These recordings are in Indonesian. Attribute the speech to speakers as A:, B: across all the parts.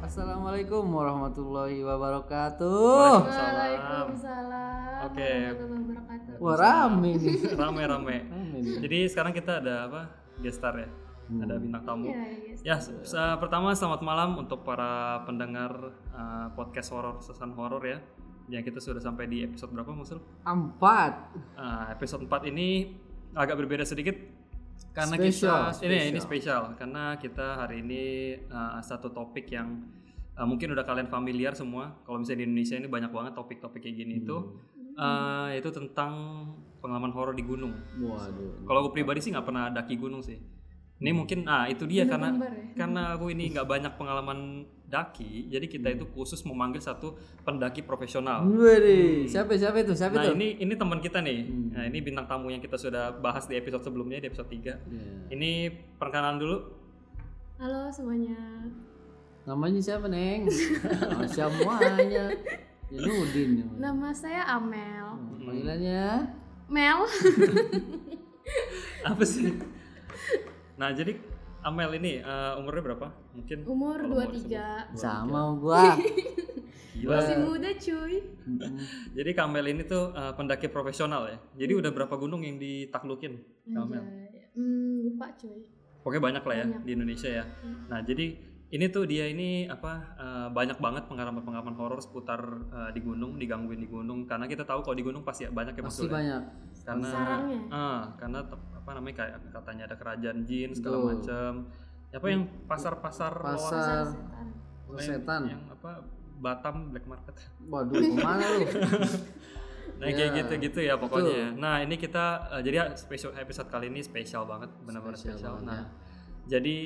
A: Assalamualaikum warahmatullahi wabarakatuh.
B: Waalaikumsalam.
C: Oke.
B: warahmatullahi wabarakatuh.
A: Wah rame nih.
C: rame rame
A: Rame nih.
C: jadi sekarang kita ada apa guest star ya ada bintang tamu
B: Iya, iya.
C: ya se- se- pertama selamat malam untuk para pendengar eh, podcast horor sesan horor ya yang kita sudah sampai di episode berapa musul
A: Empat.
C: Ah, episode 4 ini agak berbeda sedikit karena
A: Spesial,
C: kita ini
A: spesial.
C: ini spesial karena kita hari ini uh, satu topik yang uh, mungkin udah kalian familiar semua. Kalau misalnya di Indonesia ini banyak banget topik-topik kayak gini itu uh, itu tentang pengalaman horor di gunung.
A: Waduh.
C: Kalau aku pribadi sih nggak pernah daki gunung sih. Ini mungkin ah itu dia karena
B: gambar ya?
C: karena aku ini nggak banyak pengalaman daki, jadi kita itu khusus memanggil satu pendaki profesional.
A: Gue deh. Siapa siapa itu? Siapa
C: Nah
A: itu?
C: ini ini teman kita nih. Nah ini bintang tamu yang kita sudah bahas di episode sebelumnya di episode 3.
A: Ya.
C: Ini perkenalan dulu.
B: Halo semuanya.
A: Namanya siapa neng? oh, semuanya. Ya, Janudin.
C: Nah.
A: namanya.
B: Nama saya Amel.
A: Panggilannya.
B: Mel.
C: Apa sih? nah jadi Amel ini eh, umurnya berapa? Mungkin
B: Umur
C: kalau mau disebut.
B: 23.
A: Sama gua.
C: Gila.
B: Masih
A: Eh,
B: muda cuy.
C: Jadi Kamel ini tuh eh, pendaki profesional ya. Jadi udah berapa gunung yang ditaklukin Kamel?
B: Anjay. Hmm, lupa cuy.
C: Pokoknya banyak lah ya
B: Banyak.
C: di Indonesia ya. Nah jadi ini tuh dia ini apa eh, banyak banget pengalaman-pengalaman horor seputar eh, di gunung, digangguin di gunung. Karena kita tahu kalau di gunung pasti banyak ya
A: Pasti
C: maksudnya.
A: banyak.
C: karena
B: Sarangnya.
A: Eh,
C: ah, karena tep- apa namanya kayak katanya ada kerajaan jin segala
A: Betul.
C: macam apa yang pasar pasar
B: Besar
A: Pasar
B: setan.
A: setan.
C: yang apa Batam black market
A: Waduh, kemana lu?
C: nah kayak
A: Ya.
C: gitu gitu ya pokoknya nah ini kita eh, jadi spesial episode kali ini spesial banget benar-benar
A: Spesial
C: spesial,
A: banget
C: nah
A: ya.
C: jadi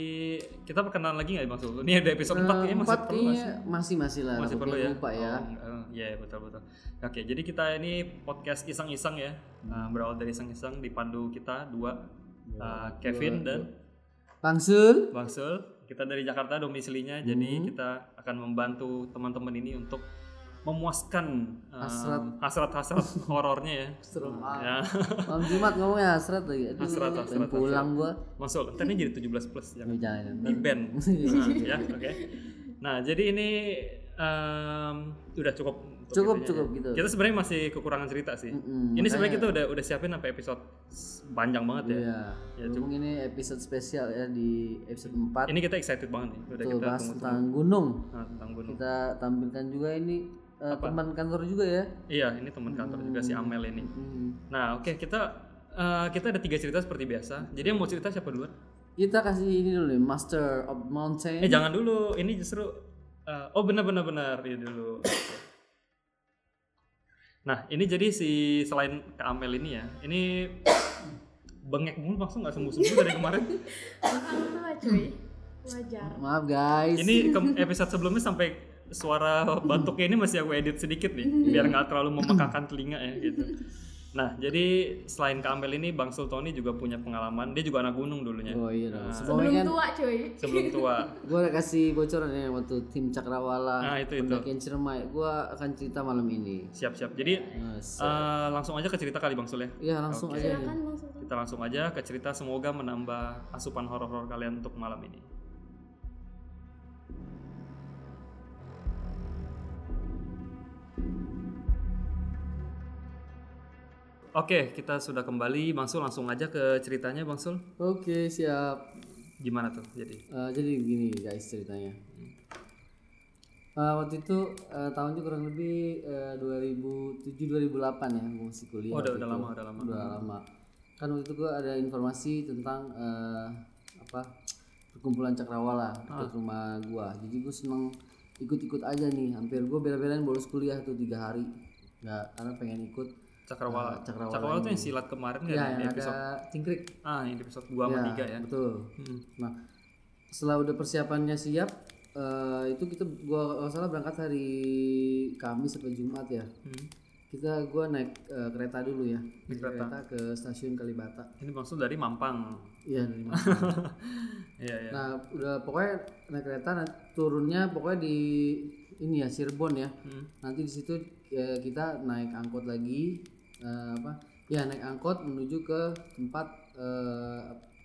C: kita perkenalan lagi nggak bang Sul ini ada episode empat kayaknya masih
A: Eh, Empat
C: perlu nggak sih?
A: kayaknya masih masih lah.
C: masih perlu
A: takutnya
C: ya
A: Lupa ya.
C: Oh, enggak, eh, iya betul betul oke jadi kita ini podcast iseng-iseng ya Nah, berawal dari iseng-iseng dipandu kita dua eh, Kevin dan
A: Pangsul.
C: Bang Sul, kita dari Jakarta domisilinya, jadi
A: Hmm.
C: kita akan membantu teman-teman ini untuk memuaskan um,
A: Hasrat.
C: hasrat-hasrat horornya ya.
A: Serem
C: Ya,
A: Malam Jumat ngomongnya hasrat lagi. Aduh,
C: Hasrat,
A: pengen
C: hasrat,
A: pulang gua.
C: Bang Sul, ntar ini jadi 17 plus yang
A: Jangan, jangan.
C: di band. Nah, ya, oke. Nah, jadi ini um, udah cukup untuk
A: Cukup,
C: itunya
A: cukup
C: ya.
A: gitu.
C: Kita sebenarnya masih kekurangan cerita sih.
A: Mm-mm,
C: ini sebenarnya kita
A: makanya-
C: udah udah siapin sampai episode s- panjang banget ya.
A: Iya.
C: Ya,
A: Berhubung ini episode spesial ya di episode 4
C: Ini kita excited banget nih. Udah
A: tuh
C: kita
A: bahas
C: tunggu
A: tentang gunung.
C: tentang gunung.
A: Kita tampilkan juga ini eh, teman kantor juga ya.
C: Iya, ini teman kantor juga si Amel ini.
A: Hmm.
C: Nah, oke kita eh, kita ada tiga cerita seperti biasa. Jadi yang mau cerita siapa duluan?
A: Kita kasih ini dulu nih, Master of Mountain.
C: Eh jangan dulu, ini justru eh, oh benar benar benar ini dulu. Nah, ini jadi si selain Kak Amel ini ya. Ini bengek mulu langsung nggak sembuh-sembuh dari kemarin.
B: Orang tua cuy.
A: hmm.
B: Wajar.
A: Maaf guys.
C: Ini ke- episode sebelumnya sampai suara batuknya ini masih aku edit sedikit nih biar nggak terlalu memekakan telinga ya gitu. Nah, jadi selain Kak Amel ini Bang Sultoni juga punya pengalaman. Dia juga anak gunung dulunya.
A: Oh iya dong. Sebelumnya
B: Belum
A: kan
B: tua cuy.
C: Sebelum tua.
A: gue udah kasih bocoran ya waktu tim Cakrawala
C: Nah, itu, itu.
A: pendakian Ciremai. Gue akan cerita malam ini.
C: Siap-siap. Jadi
A: Nah, se-
C: eh, langsung aja ke cerita kali Bang Sul ya.
A: ya langsung
C: Oke.
A: aja.
B: Silakan Bang Sultan.
C: Kita langsung aja ke cerita semoga menambah asupan horor-horor kalian untuk malam ini. Oke, kita sudah kembali. Bang Sul langsung aja ke ceritanya Bang Sul.
A: Oke siap.
C: Gimana tuh? Jadi
A: Eh, jadi begini guys ceritanya. Eh, waktu itu eh, tahunnya kurang lebih eh, 2007-2008 ya gue masih kuliah.
C: Oh, udah,
A: waktu
C: udah
A: itu.
C: lama, udah lama.
A: Udah lama. Kan waktu itu gue ada informasi tentang eh, apa perkumpulan cakrawala
C: Ah.
A: dekat rumah gue. Jadi gue seneng ikut-ikut aja nih. Hampir gue bela-belain bolos kuliah tuh tiga hari. Nggak, karena pengen ikut.
C: Cakrawala.
A: Eh, Cakrawala
C: Cakrawala tuh yang silat kemarin kan
A: Ya,
C: yang di
A: yang
C: episode
A: ada Iya. cingkrik.
C: ah yang di episode 2 sama 3 ya.
A: Betul.
C: Hmm.
A: Nah, setelah udah persiapannya siap, eh, itu kita gua kalau nggak salah berangkat hari Kamis sampai Jumat ya.
C: Hmm.
A: Kita gua naik eh, kereta dulu ya. Naik kereta ke stasiun Kalibata.
C: Ini Bang Sul dari Mampang.
A: Iya, dari Mampang.
C: Iya, iya.
A: Nah, udah pokoknya naik kereta nah, turunnya pokoknya di ini ya Cirebon ya.
C: Hmm.
A: Nanti di situ eh, kita naik angkot lagi eh, apa? Ya, naik angkot menuju ke tempat eh,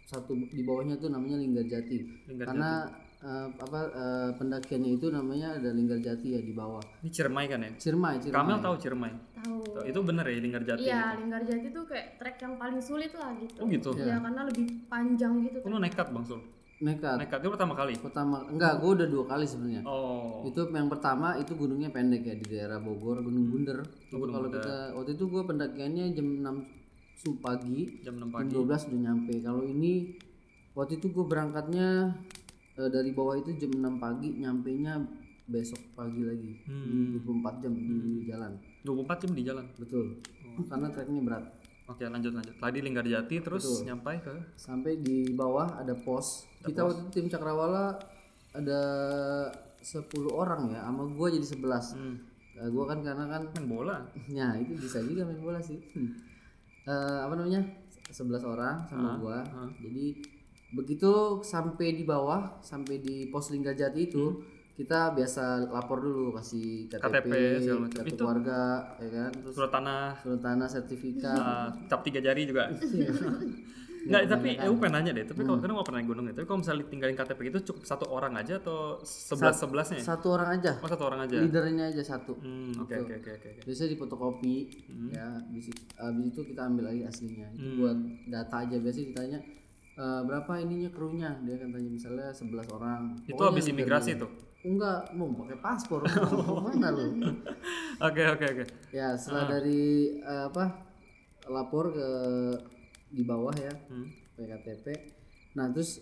A: satu di bawahnya tuh namanya Linggarjati.
C: Linggarjati.
A: Karena eh, apa eh, pendakiannya itu namanya ada Linggarjati ya di bawah.
C: Ini Ciremai kan ya?
A: Ciremai, Ciremai.
C: Kamel tahu Ciremai.
B: tahu
C: Tuh, Itu bener ya Linggarjati.
B: iya Linggarjati tuh kayak trek yang paling sulit lah gitu
C: Oh gitu.
A: Iya.
B: ya karena lebih panjang gitu
C: Lu nekat Bang Sul.
A: Nekat. Iya.
C: Nekat itu pertama kali.
A: Pertama enggak, gue udah dua kali sebenarnya.
C: Oh.
A: Itu yang pertama itu gunungnya pendek ya di daerah Bogor, Hmm. Oh, Gunung Bunder. Itu kalau kita waktu itu gue pendakiannya jam 6 su- pagi,
C: Jam
A: jam
C: 6 pagi.
A: 12 udah nyampe. Kalau ini waktu itu gue berangkatnya eh, dari bawah itu jam 6 pagi, nyampainya besok pagi lagi. Di 24 jam di jalan.
C: 24 jam di jalan.
A: Betul. Karena treknya berat.
C: Oke, lanjut lanjut. Tadi Linggarjati terus nyampai ke
A: Sampai di bawah ada pos. Kita waktu itu tim Cakrawala ada 10 orang ya, sama gue jadi 11. Eh, gua kan karena kan
C: main bola.
A: Nah itu bisa juga main bola sih. Hmm. Eh, apa namanya? 11 orang
C: Ah,
A: sama gua. Jadi begitu sampai di bawah, sampai di pos Linggajati itu,
C: Hmm.
A: kita biasa lapor dulu kasih KTP,
C: KTP, segala macam.
A: kartu
C: Itu-
A: keluarga, ya kan? Terus Iya.
C: Surat tanah
A: surat tanah, sertifikat.
C: eh, cap tiga jari juga.
A: Iya.
C: Nggak, tapi aku pengen nanya deh. Tapi
A: Hmm.
C: kalau karena nggak pernah naik gunung ya. Tapi kalau misalnya tinggalin KTP itu gitu, cukup satu orang aja atau sebelas sebelasnya? ya?
A: Satu orang aja,
C: Oh satu orang aja.
A: leadernya aja satu.
C: Hmm, oke oke oke oke. Hmm. oke.
A: biasanya difotokopi ya habis itu, habis itu kita ambil lagi aslinya itu
C: Hmm.
A: buat data aja biasanya ditanya e, berapa ininya krunya dia akan tanya misalnya 11 orang
C: Itu
A: Pokoknya
C: habis
A: lebih
C: imigrasi
A: dari-
C: tuh.
A: enggak mau pakai paspor Mau mana lu
C: Oke oke oke.
A: ya setelah dari eh, apa lapor ke di bawah ya
C: Hmm.
A: PKTP nah terus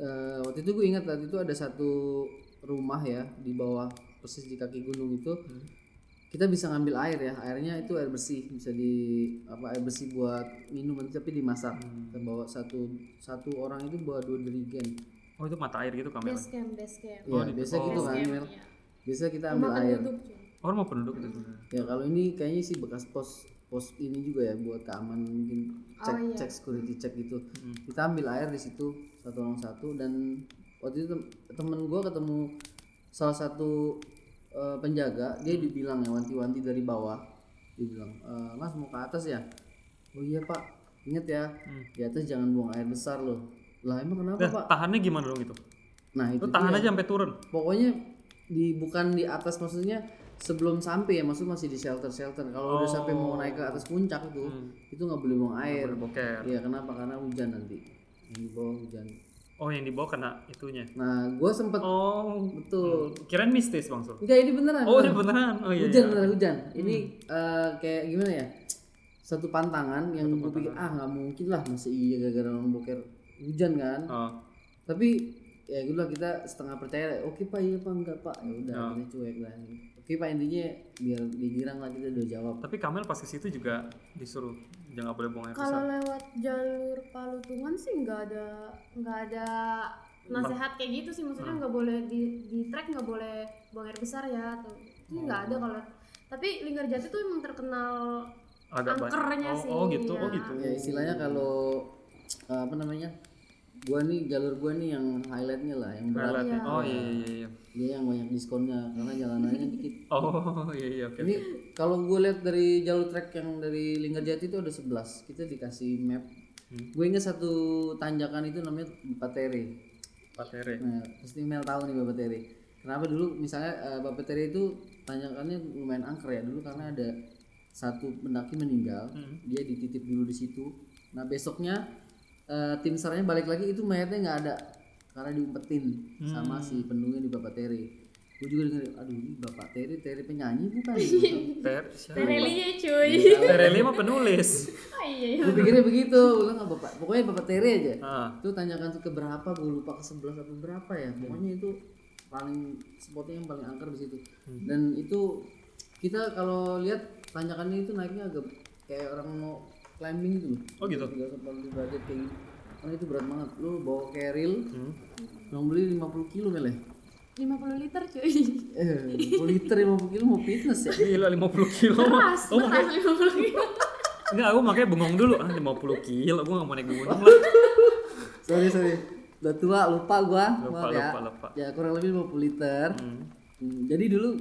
A: eh, waktu itu gue ingat waktu itu ada satu rumah ya di bawah persis di kaki gunung itu kita bisa ngambil air ya airnya itu air bersih bisa di apa air bersih buat minum nanti tapi dimasak kita bawa satu satu orang itu bawa dua dirigen
C: Oh itu mata air gitu kamera.
B: base camp base camp
A: ya biasa gitu kan Mel
B: iya.
A: biasa kita ambil air
B: Duduk, cuy.
C: Orang mau penduduk itu.
A: ya kalau ini kayaknya sih bekas pos pos ini juga ya buat keamanan mungkin cek cek security cek gitu
C: Hmm.
A: kita ambil air di situ satu orang satu dan waktu itu tem- temen gue ketemu salah satu eh, penjaga
C: Hmm.
A: dia dibilang ya wanti-wanti dari bawah dibilang "Eh, mas mau ke atas ya oh iya pak inget ya
C: Hmm.
A: di atas jangan buang air besar loh lah emang kenapa pak
C: Tahannya gimana dong itu?
A: nah itu
C: Lu tahan aja sampai turun.
A: pokoknya di bukan di atas maksudnya sebelum sampai ya maksudnya masih di shelter shelter kalau udah sampai mau naik ke atas puncak itu itu nggak boleh buang air
C: Boker.
A: iya kenapa karena hujan nanti yang di bawah hujan
C: Oh yang dibawa kena itunya.
A: nah gue sempet
C: Oh
A: betul
C: kirain mistis bang Sul.
A: enggak ini beneran
C: Oh ini beneran. Oh iya.
A: hujan beneran hujan ini eh, kayak gimana ya satu pantangan yang gue pikir ah nggak mungkin lah masih iya gara-gara orang boker hujan kan
C: Oh.
A: tapi ya gitu lah kita setengah percaya oke pak iya pak enggak pak ya udah kita cuek lah oke pak intinya biar digirang lah kita udah jawab Ya,
C: Tapi Kamel pas ke situ juga disuruh jangan boleh buang air
B: kalau
C: besar.
B: lewat jalur Palutungan sih nggak ada nggak ada nasehat kayak gitu sih maksudnya
C: Ah.
B: nggak boleh di di trek nggak boleh buang air besar ya atau itu nggak
C: Oh.
B: ada kalau tapi Linggarjati tuh emang terkenal
C: Agak banyak.
B: angkernya
C: Oh,
B: sih,
C: oh gitu,
B: iya.
C: oh gitu.
A: ya istilahnya kalau eh, apa namanya gua nih jalur gua nih yang highlightnya lah yang berat
C: Highlight ya. Oh iya iya iya.
A: dia yang banyak diskonnya karena jalanannya dikit
C: Oh iya iya oke.
A: ini kalau gue lihat dari jalur trek yang dari Linggarjati itu ada 11 kita dikasih map gue inget satu tanjakan itu namanya Batere
C: Pak Tere.
A: Nah, pasti Mel tahu nih Bapak Tere. Kenapa dulu misalnya eh, Bapak Tere itu tanjakannya lumayan angker ya dulu karena ada satu pendaki meninggal, dia dititip dulu di situ. Nah, besoknya eh, tim sarnya balik lagi itu mayatnya nggak ada karena diumpetin sama si pendungnya di Bapak Tere. Gue juga dengerin, aduh ini Bapak Tere, Tere penyanyi bukan?
C: Ter siapa?
B: Tereli ya cuy
C: Tereli mah penulis.
B: oh, iya iya.
A: gue pikirnya begitu, ulang nggak Bapak, pokoknya Bapak Tere aja.
C: Ah.
A: itu tanjakan tuh ke berapa gue lupa ke sebelas atau berapa ya pokoknya itu paling spotnya yang paling angker di situ
C: Hmm.
A: dan itu kita kalau lihat tanjakannya itu naiknya agak kayak orang mau climbing gitu loh
C: Oh gitu.
A: tiga derajat kayak gitu karena itu berat banget lu bawa keril
C: Hmm.
A: yang beli 50 kilo mele
B: 50 liter cuy
A: eh 50 liter 50 kilo mau fitness ya
C: Gila 50 kilo mah.
B: pas beras 50 liter
C: Enggak, aku makanya bengong dulu. Ah, 50 kilo, gue gak mau naik gunung lah.
A: sorry sorry udah tua lupa gua
C: Lupa,
A: Maaf ya.
C: lupa, lupa.
A: ya kurang lebih 50 liter Hmm, jadi dulu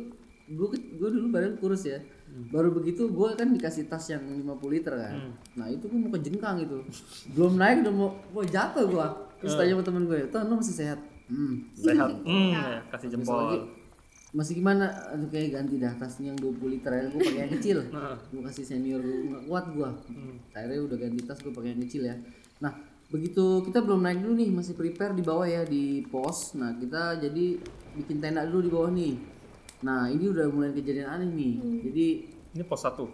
A: gue gue dulu badan kurus ya baru begitu gue kan dikasih tas yang 50 liter kan nah itu gue mau kejengkang gitu belum naik udah mau mau jatuh gue terus tanya sama temen gue tuh lo masih sehat Hmm.
C: Sehat. Hmm, ya, kasih
A: Besok lagi,
C: jempol.
A: masih gimana? Aduh kayak ganti dah tasnya yang 20 liter aja gue pakai yang kecil.
C: Nah.
A: gue kasih senior gue nggak kuat gue. Akhirnya udah ganti tas gue pakai yang kecil ya. Nah begitu kita belum naik dulu nih masih prepare di bawah ya di pos. Nah kita jadi bikin tenda dulu di bawah nih. Nah ini udah mulai kejadian aneh nih. Jadi
C: Ini pos satu.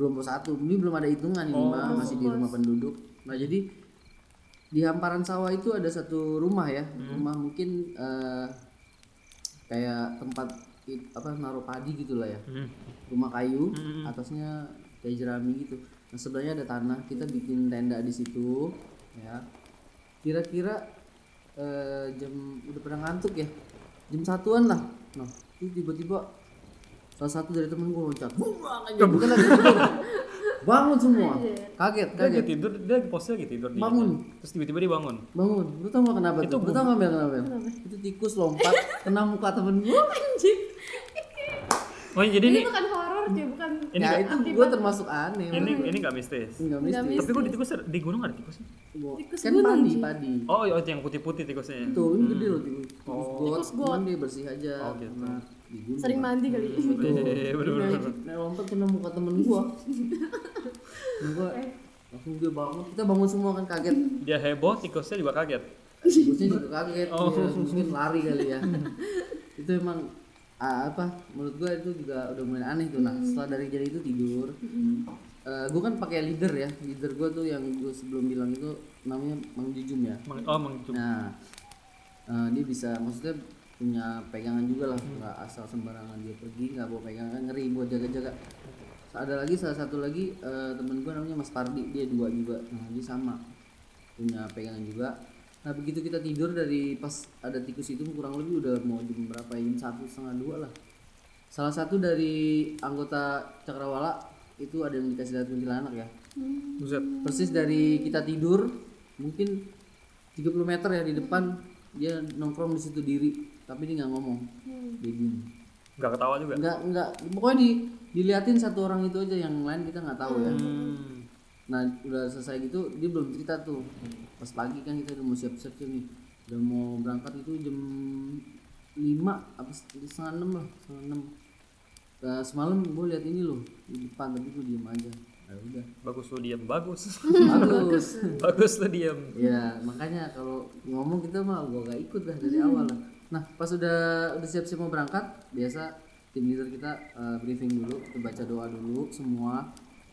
A: belum pos satu ini belum ada hitungan ini mah masih di rumah penduduk nah jadi di hamparan sawah itu ada satu rumah ya rumah mungkin eh, kayak tempat i- apa naruh padi gitulah ya
C: Hmm.
A: rumah kayu atasnya kayak jerami gitu nah sebelahnya ada tanah kita bikin tenda di situ ya kira-kira eh, jam udah pernah ngantuk ya jam satuan lah nah itu tiba-tiba salah satu dari temen gue loncat buang aja bukan lagi tidur. bangun semua kaget
C: Dia lagi
A: kaget
C: tidur, dia lagi posnya lagi tidur. dia.
A: Bangun.
C: Terus tiba-tiba dia bangun.
A: bangun lu tau gak kenapa
C: Itu
A: tuh? lu tau gak Bel, kenapa Bel? itu tikus lompat kena muka temen gue
B: Anjir.
C: Oh jadi
A: Iya,
C: ini
B: Ini bukan horor cuy, bukan.
C: Ini
A: ya
C: nggak-
A: itu gue termasuk aneh
C: ini
A: makanya
C: ini nggak mistis.
A: nggak mistis
C: Tapi kok di tikus ada- di gunung ada tikus?
A: Gua-
B: Tikus
A: kan
B: gunung,
A: padi
B: Ji.
A: padi
C: Oh, oh, itu yang putih-putih tikusnya.
A: itu ini gede
C: Hmm.
A: loh tikus tikus got
B: Tikus got.
A: cuman dia bersih aja
C: Oh, gitu.
A: karena di gunung
B: Sering
A: kan.
B: mandi kali.
A: Tuh, Nah,
C: Iya, bener,
A: dia
C: bener,
A: naik- naik lompat kena muka temen gua Nah, gua
C: Eh.
A: langsung dia bangun kita bangun semua kan kaget
C: Dia heboh, tikusnya juga kaget.
A: tikusnya juga kaget
C: Oh.
A: ya, mungkin lari kali ya itu emang ah, apa menurut gua itu juga udah mulai aneh tuh nah setelah dari jadi itu tidur
C: Hmm.
A: Eh, gua kan pakai leader ya leader gua tuh yang gua sebelum bilang itu namanya Mang Jujum ya
C: Mang- Oh, mang Jum.
A: Nah, eh, dia bisa maksudnya punya pegangan juga lah, nggak asal sembarangan dia pergi, nggak bawa pegangan kan ngeri buat jaga-jaga. Ada lagi salah satu lagi eh, temen gue namanya Mas Pardi, dia dua juga, nah, dia sama punya pegangan juga. Nah begitu kita tidur dari pas ada tikus itu kurang lebih udah mau jam berapa ya? Jam satu setengah dua lah. Salah satu dari anggota Cakrawala itu ada yang dikasih lihat kuntilanak ya
C: Buset.
A: persis dari kita tidur mungkin 30 meter ya di depan dia nongkrong di situ diri tapi dia nggak ngomong dia diem
C: Nggak ketawa juga.
A: nggak nggak pokoknya di diliatin satu orang itu aja yang lain kita nggak tahu ya
C: Hmm.
A: nah udah selesai gitu dia belum cerita tuh pas pagi kan kita udah mau siap-siap tuh nih udah mau berangkat itu jam 5 apa setengah enam lah setengah enam Nah, semalam gue lihat ini loh di depan tapi gue diem aja ya udah
C: Bagus lu diam, bagus.
A: bagus
C: bagus lu diam.
A: Ya makanya kalau ngomong kita mah gua gak ikut dah dari awal lah. Nah pas udah udah siap-siap mau berangkat biasa tim leader kita eh, briefing dulu, kita baca doa dulu semua.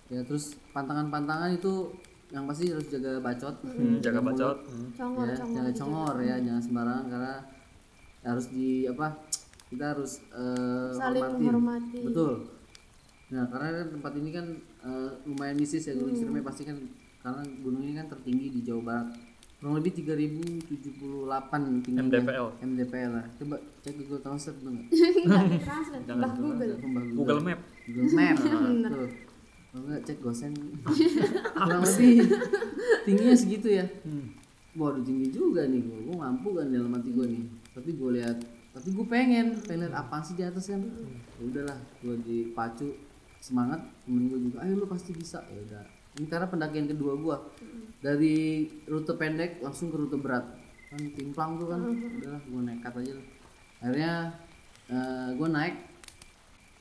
A: Ya terus pantangan-pantangan itu yang pasti harus jaga bacot,
C: Hmm, jaga bacot. Hmm.
B: Congor,
A: ya,
B: congor. gitu.
A: jangan congor ya, jangan sembarangan karena harus di apa? Kita harus eh,
B: Saling
A: hormatin.
B: menghormati.
A: Betul. Nah, karena kan tempat ini kan eh, lumayan mistis ya
B: Hmm.
A: Gunung Ciremai pasti kan karena gunung ini kan tertinggi di Jawa Barat. Kurang lebih 3078 tingginya.
C: MDPL.
A: MDPL lah. Coba cek di Google Translate tuh nggak?
B: Nggak ada translate, bah Google.
C: Google Map.
A: Google Map. Betul. Kalau nggak cek gosen. Kurang lebih tingginya segitu ya. Waduh tinggi juga nih gue. Gue mampu kan dalam hati gue nih. Tapi gue lihat, tapi gue pengen, pengen lihat apa sih di atas kan. Ya udahlah, gue dipacu semangat. Temen gue juga, ayo lu pasti bisa. Ya udah. Ini karena pendakian kedua gue. Dari rute pendek langsung ke rute berat. Kan timplang tuh kan. Udahlah, gue nekat aja lah. Akhirnya gue naik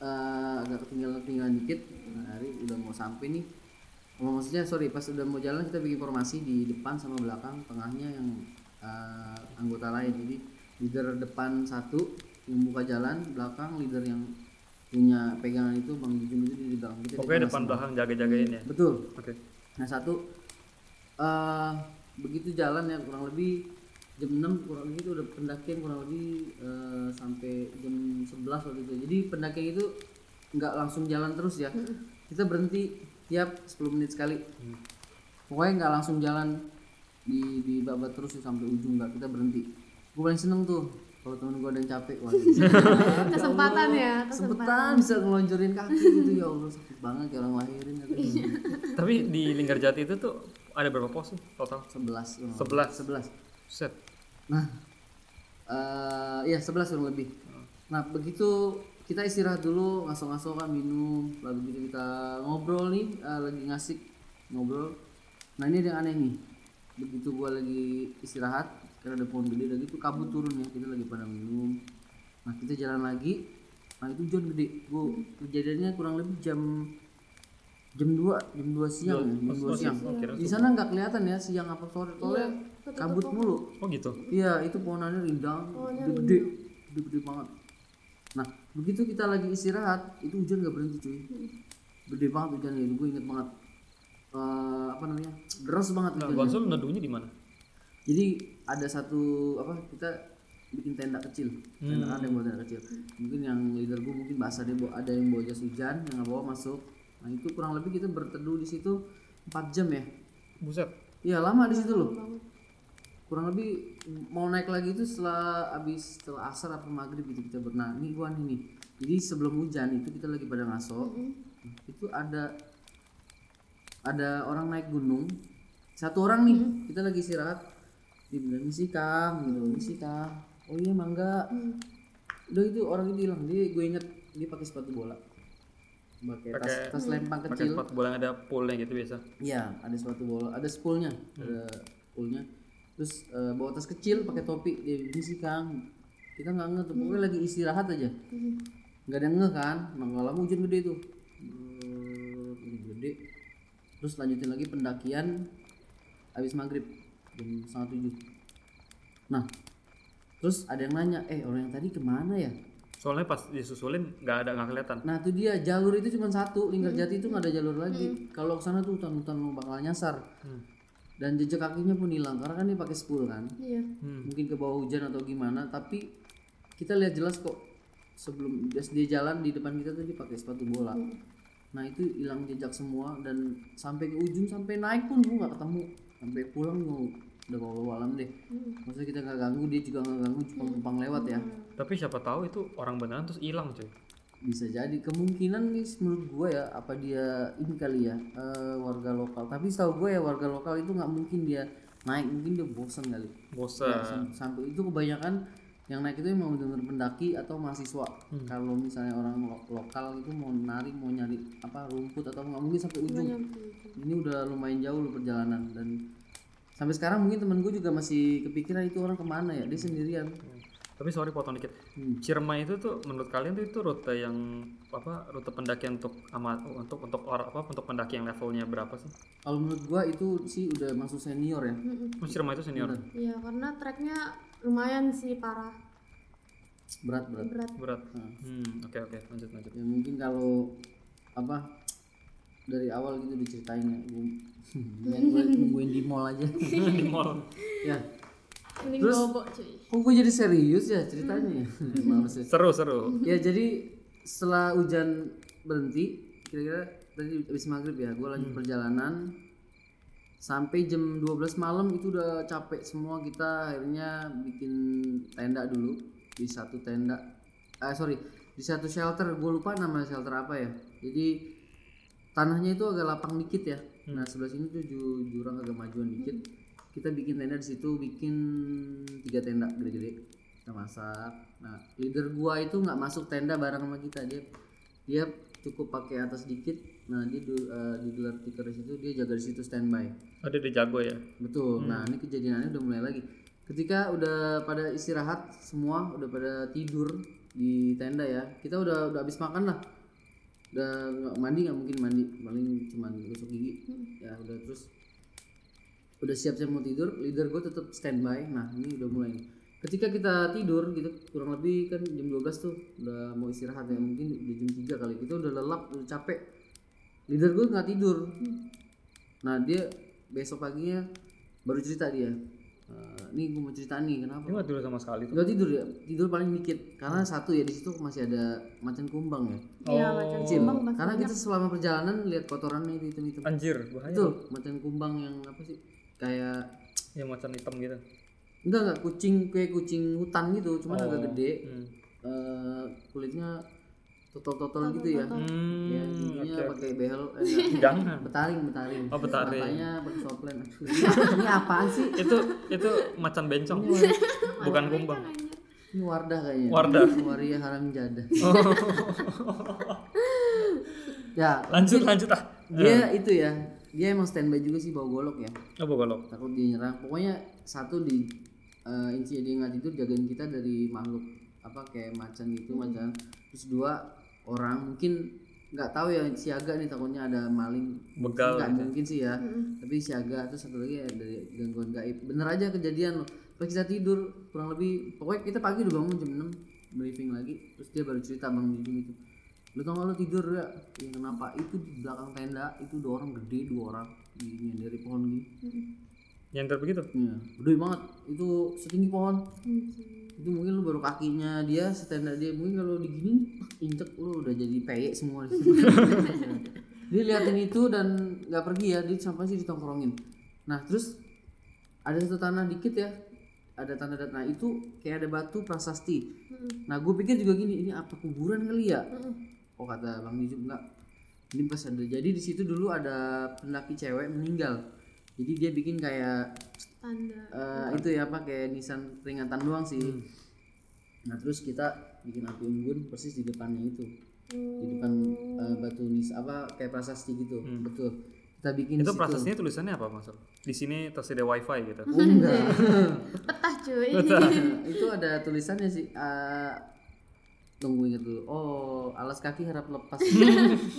A: eh, agak ketinggalan ketinggalan dikit nah, hari udah mau sampai nih Oh, maksudnya sorry pas udah mau jalan kita bikin formasi di depan sama belakang tengahnya yang eh, anggota lain jadi leader depan satu yang buka jalan belakang leader yang punya pegangan itu bang Jujum itu di belakang kita
C: Pokoknya
A: dijaga
C: depan
A: semua.
C: belakang jaga-jagain ya.
A: betul
C: Oke.
A: Nah satu eh begitu jalan ya kurang lebih jam 6 kurang lebih itu udah pendakian kurang lebih eh, sampai jam 11 waktu itu. Jadi pendakian itu nggak langsung jalan terus ya. Kita berhenti tiap 10 menit sekali. Pokoknya nggak langsung jalan di di babat terus ya, sampai ujung nggak kita berhenti. Gue paling seneng tuh kalau temen gue ada yang capek. Wah,
B: Kesempatan ya,
A: Sempetan bisa ngelonjorin kaki gitu ya Allah sakit banget kayak orang lahirin katanya.
C: Tapi di Linggarjati itu tuh ada berapa pos sih total?
A: 11
C: Sebelas.
A: 11
C: Set.
A: Nah, eh ya 11 kurang lebih. Nah, begitu kita istirahat dulu, ngaso-ngaso kan minum, lalu begitu kita ngobrol nih, eh, lagi ngasik ngobrol. Nah, ini ada yang aneh nih. Begitu gua lagi istirahat, karena ada pohon gede lagi tuh kabut turun ya kita lagi pada minum nah kita jalan lagi nah itu hujan gede gua kejadiannya kurang lebih jam jam 2 jam 2 siang ya, jam 2 siang
C: Oh, kira-
A: di sana nggak kelihatan ya siang apa sore sore
B: Ketutup
A: kabut
B: pohon.
A: mulu
C: oh gitu
A: Iya, itu pohonannya rindang,
B: Pohonnya
A: gede-gede, gede-gede banget. Nah, begitu kita lagi istirahat, itu hujan gak berhenti cuy. Gede banget hujannya, gue inget banget. Eh, apa namanya? Deras banget
C: nah,
A: hujannya.
C: Gonsul neduhnya di mana
A: Jadi ada satu apa kita bikin tenda kecil. Tenda ada yang bawa tenda kecil. Mungkin yang leader gue mungkin bahasa dia bawa- ada yang bawa jas hujan, yang nggak bawa masuk. Nah itu kurang lebih kita berteduh di situ 4 jam ya.
C: buset
A: Iya lama di situ loh. Kurang lebih mau naik lagi itu setelah abis setelah asar apa maghrib gitu kita berenang. Ini gua nih nih. Jadi sebelum hujan itu kita lagi pada ngaso. Itu ada ada orang naik gunung. Satu orang nih kita lagi istirahat. Dia bilang misi kang gitu misi kang. Oh iya mangga. Udah itu orang itu hilang. Dia gue inget dia pakai sepatu bola. Pakai tas,
C: Pakai-
A: tas lempang
C: pakai
A: kecil.
C: sepatu bola yang ada pole gitu biasa
A: Iya, ada sepatu bola, ada spoolnya, ada spoolnya. Terus eh, bawa tas kecil, pakai topi, dia bilang sih Kang. Kita nggak ngeh tuh, pokoknya lagi istirahat aja. Nggak ada ngeh kan, nah, nggak lama hujan gede tuh. Brrrr, Hujan gede. Terus lanjutin lagi pendakian habis maghrib jam setengah tujuh. Nah, terus ada yang nanya, eh orang yang tadi kemana ya?
C: soalnya pas disusulin nggak ada nggak kelihatan
A: Nah itu dia jalur itu cuma satu lingkar jati itu nggak ada jalur lagi. Kalau ke sana tuh hutan-hutan lu bakal nyasar. Dan jejak kakinya pun hilang karena kan dia pakai spool kan.
B: Iya.
A: Mungkin ke bawah hujan atau gimana. Tapi kita lihat jelas kok sebelum dia dia jalan di depan kita tuh dia pakai sepatu bola. Nah itu hilang jejak semua dan sampai ke ujung sampai naik pun gua nggak ketemu. Sampai pulang gua udah bawa alam deh. Maksudnya kita nggak ganggu dia juga nggak ganggu cuma numpang lewat ya.
C: tapi siapa tahu itu orang beneran terus hilang cuy
A: bisa jadi kemungkinan nih menurut gue ya apa dia ini kali ya eh, warga lokal tapi setahu gue ya warga lokal itu nggak mungkin dia naik mungkin dia bosan kali
C: bosan
A: Sam- sampai itu kebanyakan yang naik itu emang bener pendaki atau mahasiswa kalau misalnya orang lo- lokal itu mau narik mau nyari apa rumput atau nggak mungkin sampai ujung ini udah lumayan jauh loh perjalanan dan sampai sekarang mungkin temen gue juga masih kepikiran itu orang kemana ya dia sendirian
C: tapi sorry potong dikit Ciremai itu tuh menurut kalian tuh itu rute yang apa rute pendakian untuk amat untuk untuk orang apa untuk pendaki yang levelnya berapa sih
A: kalau menurut gue itu sih udah masuk senior ya
C: Oh, Ciremai itu senior
B: Iya, karena treknya lumayan sih parah.
A: berat berat
B: Berat.
C: berat Hmm, oke oke lanjut lanjut
A: ya mungkin kalau apa dari awal gitu diceritain ya gue nungguin di mall aja
C: di mall
A: ya
B: Mending
A: Terus-
B: bobo cuy.
A: kok gue jadi serius ya ceritanya ya Maaf ya.
C: seru seru
A: ya jadi setelah hujan berhenti kira-kira tadi habis maghrib ya gue lanjut perjalanan sampai jam 12 malam itu udah capek semua kita akhirnya bikin tenda dulu di satu tenda ah sorry di satu shelter gue lupa nama shelter apa ya jadi tanahnya itu agak lapang dikit ya nah sebelah sini tuh ju- jurang agak majuan dikit kita bikin tenda di situ bikin tiga tenda gede-gede kita masak nah leader gua itu nggak masuk tenda bareng sama kita dia dia cukup pakai atas dikit nah dia du- eh, di gelar tikar di situ dia jaga di situ standby
C: ada dia jago ya
A: Betul. Nah, ini kejadiannya udah mulai lagi. Ketika udah pada istirahat semua, udah pada tidur di tenda ya. Kita udah udah habis makan lah. Udah nggak mandi nggak mungkin mandi, paling cuman gosok gigi. Ya, udah terus udah siap-siap mau tidur, leader gue tetap standby. Nah, ini udah mulai nih. Ketika kita tidur gitu kurang lebih kan jam 12 tuh udah mau istirahat ya mungkin udah jam 3 kali kita udah lelap udah capek leader gue nggak tidur Nah dia besok paginya baru cerita dia. Eh, Nih gue mau cerita nih
C: dia
A: kenapa?
C: nggak dulu sama sekali tuh
A: Gak tidur ya, tidur paling dikit. Karena satu ya di situ masih ada macan kumbang ya.
B: Iya, macan kumbang masih
A: Karena kita selama perjalanan lihat kotorannya itu hitam hitam.
C: anjir bahaya
A: Betul, macan kumbang yang apa sih? Kayak
C: ya macan hitam gitu
A: enggak enggak kucing kayak kucing hutan gitu, cuman agak gede.
C: hmm.
A: Eh, kulitnya totol-totol gitu ya.
C: Hmm,
A: Ya, ininya pakai behel, eh, enggak.
C: jangan
A: betaring, betaring.
C: Oh, betaring.
A: Matanya pakai soplen. Ini apaan sih?
C: itu itu macan bencong
A: Iya.
C: bukan kumbang
A: Ini Wardah kayaknya.
C: Wardah. Oh.
A: Waria haram jada. ya,
C: lanjut lanjut ah
A: dia itu ya. Dia emang standby juga sih bawa golok ya.
C: apa golok
A: Takut dia nyerang. Pokoknya satu di eh inci dia nggak tidur jagain kita dari makhluk apa kayak macan gitu macan terus dua orang mungkin nggak tahu ya siaga nih takutnya ada maling
C: Begal
A: nggak
C: gitu.
A: mungkin sih ya
B: Mm-mm.
A: tapi siaga terus satu lagi ya dari gangguan gaib bener aja kejadian loh pas kita tidur kurang lebih pokoknya kita pagi udah bangun jam 6 briefing lagi terus dia baru cerita bang Jujung itu lu tau gak lu tidur ya ya kenapa itu di belakang tenda itu dua orang gede dua orang gini dari pohon gini
C: Nyender begitu.
A: ya, gede banget itu setinggi pohon
B: Mungkin.
A: itu mungkin lu baru kakinya dia setenda dia mungkin kalau digini injek lu udah jadi peyek semua di sini. dia liatin itu dan nggak pergi ya dia sampai sih ditongkrongin nah terus ada satu tanah dikit ya ada tanda tanah itu kayak ada batu prasasti
B: Mm-mm.
A: nah gue pikir juga gini ini apa kuburan kali ya
B: Mm-mm.
A: oh kata bang Yusuf enggak ini pas ada jadi di situ dulu ada pendaki cewek meninggal jadi dia bikin kayak
B: Tanda.
A: Eh, itu ya apa kayak nisan peringatan doang sih.
C: Hmm.
A: Nah terus kita bikin api unggun persis di depannya itu, di depan eh, batu nis apa kayak prasasti gitu, betul. Kita bikin di situ.
C: Hmm. Itu prosesnya tulisannya apa Mas? Di sini tersedia wifi gitu.
A: Oh, enggak.
B: Petah cuy.
A: itu ada tulisannya sih. eh, tunggu ingat dulu. Oh alas kaki harap lepas.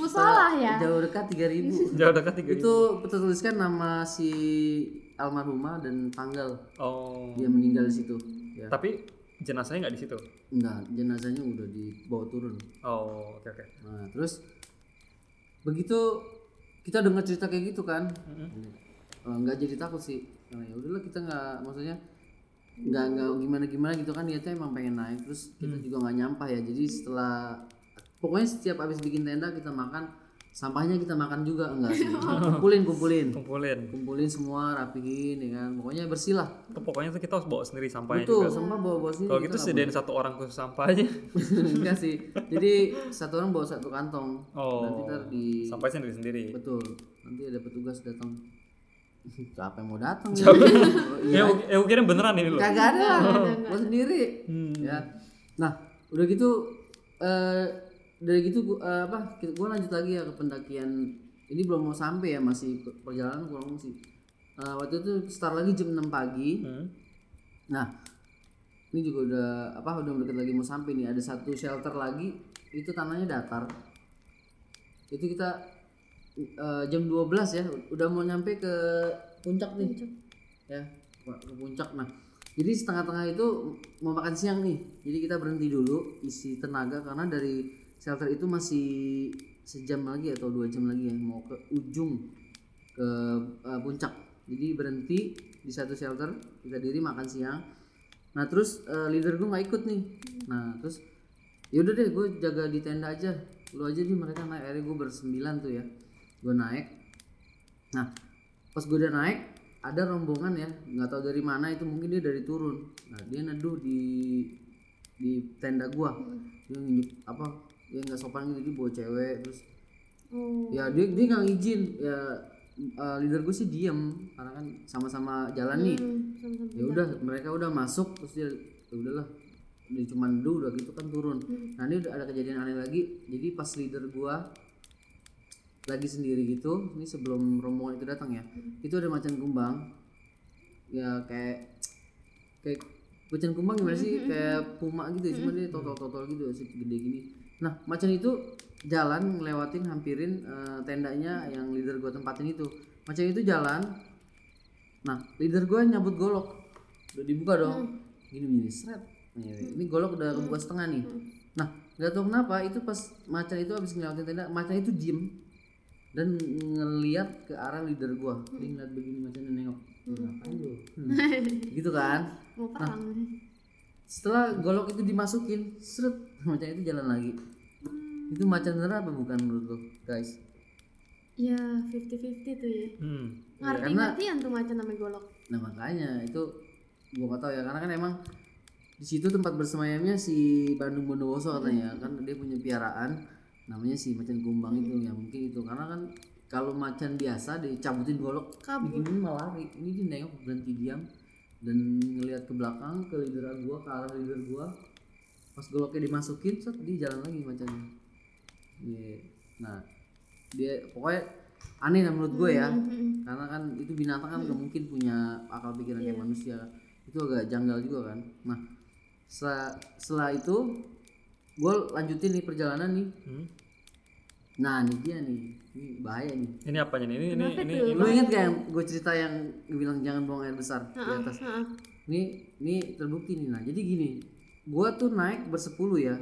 B: Musalah ya.
A: Jauh dekat 3000
C: Jauh dekat tiga
A: itu tertuliskan nama si almarhumah dan tanggal
C: Oh.
A: dia meninggal di situ. Ya.
C: Tapi jenazahnya nggak di situ.
A: Enggak, jenazahnya udah dibawa turun.
C: Oh, oke oke.
A: Nah, terus begitu kita dengar cerita kayak gitu kan, eh, nggak jadi takut sih. Nah, ya udahlah kita nggak maksudnya nggak nggak gimana gimana gitu kan niatnya emang pengen naik terus kita
C: Mm.
A: juga nggak nyampah ya jadi setelah pokoknya setiap habis bikin tenda kita makan sampahnya kita makan juga enggak sih kumpulin kumpulin
C: Kumpulin.
A: kumpulin semua rapihin ya kan pokoknya bersih lah
C: Tuh, pokoknya tuh kita harus bawa sendiri sampahnya
A: betul
C: juga.
A: sampah bawa bawa sini
C: Kalau gitu sediain satu orang khusus sampah aja.
A: enggak sih jadi satu orang bawa satu kantong
C: Oh.
A: nanti ntar di
C: Sampahnya sendiri sendiri.
A: Betul. Nanti ada petugas datang. Siapa yang mau datang? Oh, iya.
C: Eh, gua- eh, gua kira beneran ini loh.
A: Kagak ada. Gua sendiri. Ya. Nah, udah gitu eh dari gitu gua, eh, apa? kita- Gua lanjut lagi ya ke pendakian. Ini belum mau sampai ya, masih per- perjalanan kurang sih. Eh, waktu itu start lagi jam 6 pagi.
C: Hmm.
A: Nah, ini juga udah apa udah deket lagi mau sampai nih. Ada satu shelter lagi, itu tanahnya datar. Itu kita eh, jam 12 ya, udah mau nyampe ke puncak nih. Ya, ke puncak nah. Jadi setengah tengah itu mau makan siang nih. Jadi kita berhenti dulu isi tenaga karena dari shelter itu masih sejam lagi atau dua jam lagi ya mau ke ujung ke eh, puncak. Jadi berhenti di satu shelter, kita diri makan siang. Nah terus eh, leader gue nggak ikut nih. Nah terus yaudah deh gue jaga di tenda aja. Lu aja deh mereka naik. Akhirnya gue bersembilan tuh ya. Gue naik. Nah pas gue udah naik ada rombongan ya nggak tahu dari mana itu mungkin dia dari turun. Nah dia neduh di di tenda gue. Dia nginjek apa? Dia nggak sopan gitu dia bawa cewek terus
B: Oh.
A: ya dia dia nggak ngizin ya eh, leader gue sih diem karena kan sama-sama jalan nih
B: Hmm, sama-sama.
A: ya udah mereka udah masuk terus dia ya udahlah dia cuma dulu udah gitu kan turun
B: Hmm.
A: nah ini udah ada kejadian aneh lagi jadi pas leader gua lagi sendiri gitu ini sebelum rombongan itu datang ya itu ada macan kumbang ya kayak kayak macan kumbang gimana sih kayak puma gitu ya, cuma dia totol-totol gitu sih gede gini nah macan itu jalan ngelewatin hampirin eh, tendanya yang leader gua tempatin itu macan itu jalan Nah, leader gue nyabut golok. Udah dibuka dong. Gini gini seret. Nih, Ini golok udah kebuka setengah nih. Nah, nggak tahu kenapa itu pas macan itu habis ngelewatin tenda, macan itu diem dan ngeliat ke arah leader gue. Dia ngeliat begini macan dan nengok. Ngapain lu? Hmm. gitu kan?
B: Mau perang.
A: Setelah golok itu dimasukin, seret macan itu jalan lagi. Itu macan beneran apa bukan menurut lo, guys?
B: Ya 50-50
A: Iya,
B: tuh ya.
C: Hmm.
B: Ngerti-ngertian tuh macan sama golok.
A: Nah makanya itu gua gak tahu ya karena kan emang di situ tempat bersemayamnya si Bandung Bondowoso katanya kan dia punya piaraan namanya si macan kumbang itu ya mungkin itu karena kan kalau macan biasa dicabutin golok
B: Kabur.
A: begini malah lari ini dia nengok berhenti diam dan ngelihat ke belakang ke leader gua ke arah leader gua pas goloknya dimasukin set dia jalan lagi macannya Iya. nah dia pokoknya aneh lah menurut gue ya karena kan itu binatang kan nggak mungkin punya akal pikiran kayak manusia itu agak janggal juga kan nah setelah, setelah itu gue lanjutin nih perjalanan nih
C: Hmm.
A: nah ini dia nih ini bahaya nih
C: Ini apanya nih? Ini ini
B: Kenapa
C: ini,
B: tuh?
C: ini-
A: lu inget gak yang gue cerita yang bilang jangan buang air besar di atas
B: Heeh.
A: ini ini terbukti nih nah jadi gini gua tuh naik bersepuluh ya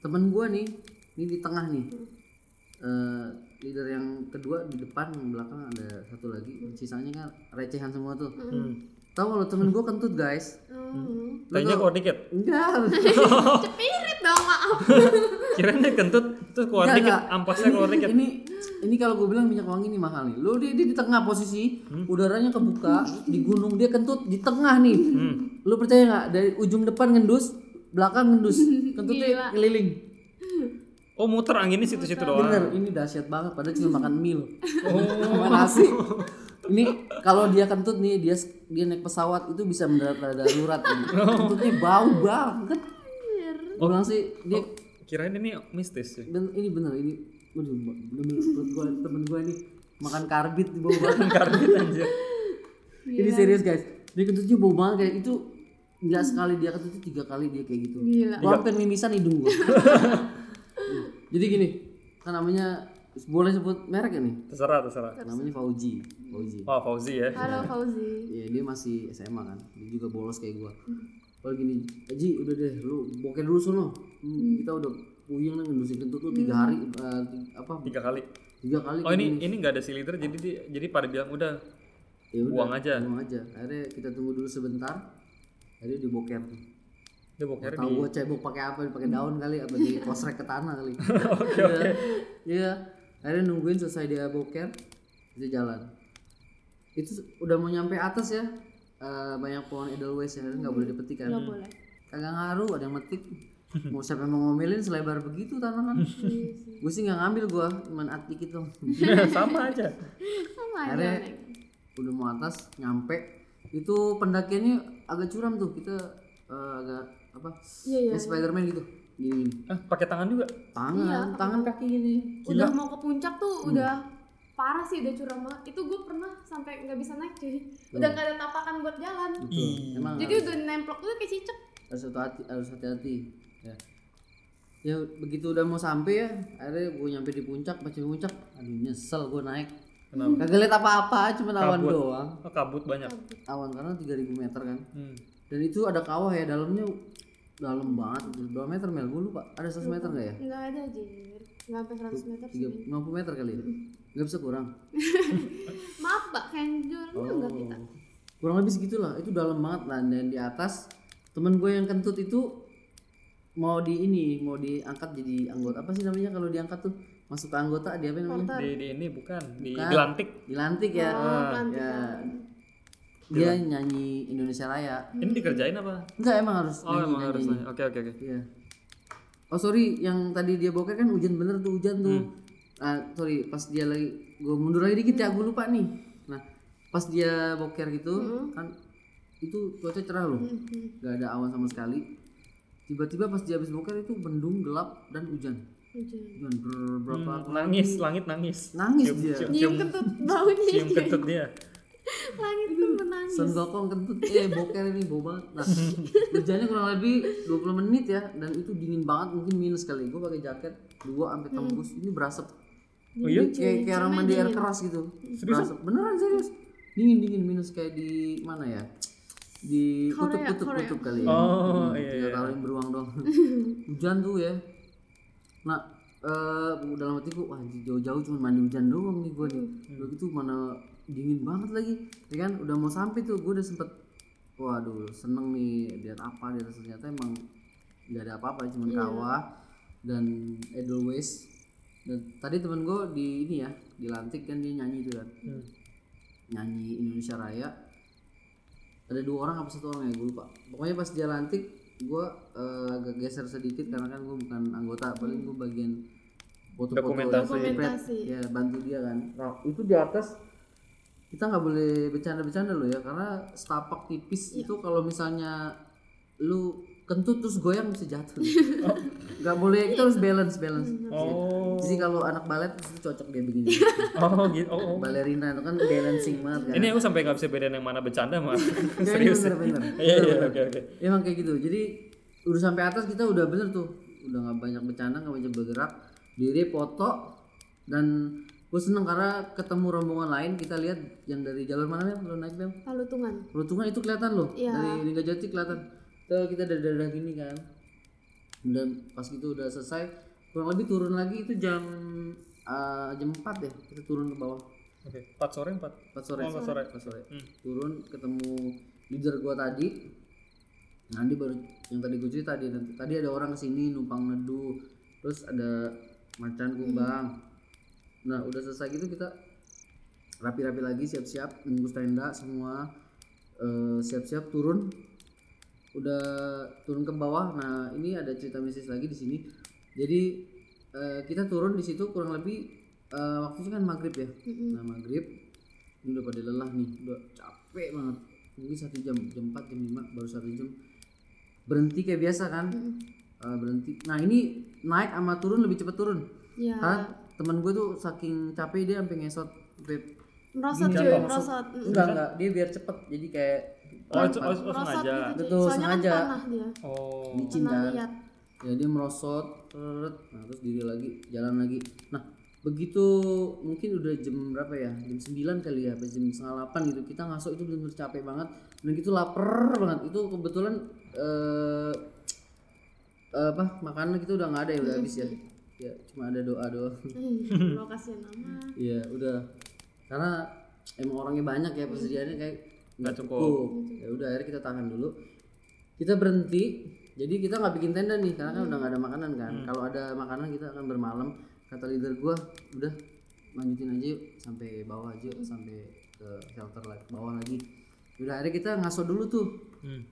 A: temen gua nih ini di tengah nih
B: Hmm.
A: Eh, leader yang kedua di depan yang belakang ada satu lagi
B: Hmm.
A: sisanya kan recehan semua tuh
C: Hmm.
A: tahu kalau temen gua kentut guys
B: Hmm.
C: Tanya kok dikit.
A: enggak
B: Oh.
A: Oh.
B: Cepirit dong maaf.
C: Kiranya kentut terus keluar
A: Enggak,
C: dikit,
A: enggak.
C: ampasnya keluar
A: ini,
C: dikit.
A: ini ini kalau gue bilang minyak wangi nih mahal nih lu dia, dia di tengah posisi
C: Hmm.
A: udaranya kebuka di gunung dia kentut di tengah nih
C: Hmm.
A: lu percaya nggak dari ujung depan ngendus belakang ngendus kentutnya keliling
C: Oh, muter anginnya situ-situ doang.
A: bener ini dahsyat banget padahal cuma makan mie loh
C: Oh,
A: sama nasi ini kalau dia kentut nih dia dia naik pesawat itu bisa mendarat darurat ini. kentutnya bau banget gue bilang sih dia
C: kirain ini mistis ya.
A: Ben- ini bener ini waduh bener perut gua temen gua nih makan karbit di bawah banget.
C: Karbit anjir.
A: ini serius guys dia kentutnya bau banget kayak itu nggak sekali dia kentutnya tiga kali dia kayak gitu
B: Gila.
A: gua hampir mimisan hidung gua Hmm. jadi gini kan namanya boleh sebut merek ya nih
C: Terserah, terserah.
A: namanya Fauji Fauji
C: Wah, Fauzi
A: Iya.
C: ya.
B: Halo Fauzi.
A: ya dia masih SMA kan dia juga bolos kayak gua kalau gini Aji udah deh lu boker dulu sono Hmm, kita udah puyeng nih ngendusin kentut lu tiga hari eh, ti- apa
C: Tiga kali.
A: tiga kali
C: Oh, ini ini nggak ada si leader jadi di- jadi pada bilang udah
A: ya udah
C: buang aja.
A: Buang aja. Akhirnya kita tunggu dulu sebentar. Akhirnya diboker tuh.
C: Dia bokernya
A: Tahu
C: di
A: gue cebok pakai apa? Pakai daun kali apa di kosrek ke tanah kali. Oke oke. Iya. Akhirnya nungguin selesai dia boker, dia jalan. Itu se- udah mau nyampe atas ya. Eh, banyak pohon edelweiss yang nggak boleh dipetik kan.
B: Gak boleh.
A: Kagak ngaruh ada yang metik. mau siapa yang mau ngomelin selebar begitu tanaman.
B: Iya sih.
A: gue sih nggak ngambil gue, cuman atik dikit dong.
C: Iya, sama aja.
B: Sama aja,
A: Akhirnya
B: Nek.
A: udah mau atas nyampe itu pendakiannya agak curam tuh kita eh, agak apa
B: Iya iya. Iya,
A: kayak Spiderman gitu gini
C: Ah, pakai tangan juga.
A: tangan tangan kaki gini Hmm.
B: Udah mau ke puncak tuh udah parah sih udah curam banget. Itu gue pernah sampai nggak bisa naik cuy.
A: Hmm.
B: Udah nggak ada tapakan buat jalan.
A: Betul. emang
B: Jadi udah nemplok tuh kayak cicak.
A: harus hati harus hati-hati ya ya begitu udah mau sampai ya akhirnya gue nyampe di puncak pas di puncak aduh nyesel gue naik
C: Kenapa?
A: kagak lihat apa-apa cuma awan
C: Kabut.
A: doang
C: Oh, kabut banyak.
A: awan karena 3000 meter kan
C: Hmm.
A: dan itu ada kawah ya dalamnya dalam banget berapa meter mel gue lupa ada 100 meter nggak ya
B: Nggak ada jir. Nggak sampai 100 meter sih.
A: tiga lima puluh meter kali ya nggak bisa kurang
B: Maaf mbak, kenjol oh. nggak kita.
A: kurang lebih segitulah itu dalam banget lah dan di atas temen gue yang kentut itu mau di ini mau diangkat jadi anggota apa sih namanya kalau diangkat tuh masuk ke anggota dia apa namanya
B: Porter.
C: Di, di ini bukan, di
A: Bukan.
C: gelantik.
A: dilantik ya
B: Oh, pelantikan.
A: ya dia nyanyi Indonesia Raya
C: Ini dikerjain apa?
A: enggak emang harus
C: Oh,
A: nyanyi
C: emang
A: nyanyi
C: harus nanya. Oke, oke, oke.
A: Iya. oh sorry yang tadi dia boker kan hujan bener tuh hujan tuh Ah, sorry pas dia lagi gue mundur lagi dikit ya gue lupa nih nah pas dia boker gitu kan itu cuaca cerah loh
B: Hmm.
A: nggak ada awan sama sekali tiba-tiba pas dia habis boker itu mendung gelap dan hujan
B: Hujan.
A: hujan ber- berapa
C: Hmm, Nangis, langit nangis.
A: nangis dia
B: Nyium kentut baunya.
C: Cium kentut dia.
B: Langit tuh menangis.
A: senggokong kentut eh boker ini bau banget nah hujannya kurang lebih 20 menit ya dan itu dingin banget mungkin minus kali gue pakai jaket dua sampai tembus ini berasap
C: Oh iya?
A: kayak kayak orang mandi air keras gitu berasap beneran serius dingin dingin minus kayak di mana ya di kutub kutub kutub kali ya
C: Oh, iya.
A: Tinggal taruhin beruang dong. hujan tuh ya. Nah, eh dalam hati gua wah jauh-jauh cuma mandi hujan doang nih gua nih.
C: Hmm.
A: Udah gitu mana dingin banget lagi. Ya kan udah mau sampai tuh gua udah sempet waduh seneng nih lihat apa di atas ternyata emang nggak ada apa-apa cuma
C: Iya.
A: kawah dan edelweiss dan tadi temen gua di ini ya dilantik kan dia nyanyi tuh kan
C: Hmm.
A: nyanyi Indonesia Raya ada dua orang apa satu orang ya gue lupa pokoknya pas dia lantik gue agak geser sedikit karena kan gue bukan anggota paling gue bagian foto-foto
C: Dokumentasi.
B: Dokumentasi.
A: ya bantu dia kan nah, itu di atas kita nggak boleh bercanda-bercanda loh ya karena setapak tipis itu kalau misalnya lu kentut terus goyang bisa jatuh Iya, nggak boleh kita harus balance balance
C: Oh.
A: Jadi kalau anak balet itu cocok dia begini.
C: Oh gitu. Oh, oh.
A: Balerina itu kan balancing banget kan.
C: Ini aku sampai nggak bisa bedain yang mana bercanda mah.
A: Ya, ini
C: Serius.
A: bener-bener.
C: Iya iya oke oke.
A: Emang kayak gitu. Jadi udah sampai atas kita udah bener tuh. Udah nggak banyak bercanda, nggak banyak bergerak. Diri foto dan gue seneng karena ketemu rombongan lain kita lihat yang dari jalur mana Bel? lo naik Bel?
B: Palutungan.
A: Pelutungan itu kelihatan loh
B: Iya.
A: dari Lingga Jati kelihatan. Kalau kita dari daerah gini kan. Dan pas itu udah selesai kurang lebih turun lagi itu jam eh, jam 4 ya kita turun ke bawah
C: Oke. Empat sore empat.
A: 4 sore.
C: Oh, empat sore.
A: Empat sore.
C: Hmm.
A: Turun ketemu leader gua tadi. Nanti baru yang tadi gue cerita tadi nanti tadi ada orang kesini numpang nedu terus ada macan kumbang nah udah selesai gitu kita rapi-rapi lagi siap-siap nunggu tenda semua Eh, siap-siap turun udah turun ke bawah nah ini ada cerita mistis lagi di sini jadi eh, kita turun di situ kurang lebih eh, waktunya kan maghrib ya
B: Mm-mm.
A: Nah maghrib ini udah pada lelah nih, udah capek banget. Mungkin satu jam, jam 4, jam 5, baru satu jam. Berhenti kayak biasa kan?
B: Mm-mm.
A: Eh, berhenti. Nah ini naik sama turun lebih cepet turun.
B: Iya.
A: Karena temen gue tuh saking capek dia sampai ngesot. Sampai,
B: Merosot
A: Gini,
B: cuy,
A: nggak
B: merosot. Mm.
A: enggak enggak, dia biar cepet. Jadi kayak
C: Oh, itu, oh,
A: lompat.
C: oh,
B: Merosot
C: sengaja.
B: gitu cuy.
A: Betul,
B: Soalnya
A: sengaja.
B: kan panah dia.
C: Oh.
A: Micin
B: Pernah
A: kan.
B: lihat.
A: ya dia merosot teret. nah terus diri lagi jalan lagi nah begitu mungkin udah jam berapa ya jam 9 kali ya apa jam setengah 8 gitu kita ngasok itu bener capek banget dan gitu lapar banget itu kebetulan eh apa makanan kita udah nggak ada ya udah habis ya ya cuma ada doa doa
B: Ih, lokasinya nama.
A: Iya udah karena emang orangnya banyak ya persediaannya kayak nggak
C: cukup.
A: Ya udah akhirnya kita tahan dulu. Kita berhenti. Jadi kita nggak bikin tenda nih karena kan udah nggak ada makanan kan. Kalau ada makanan kita akan bermalam. Kata leader gua udah lanjutin aja yuk sampai bawah aja yuk, sampai ke shelter lagi bawah lagi. Ya Udah akhirnya kita ngaso dulu tuh.
C: Hmm.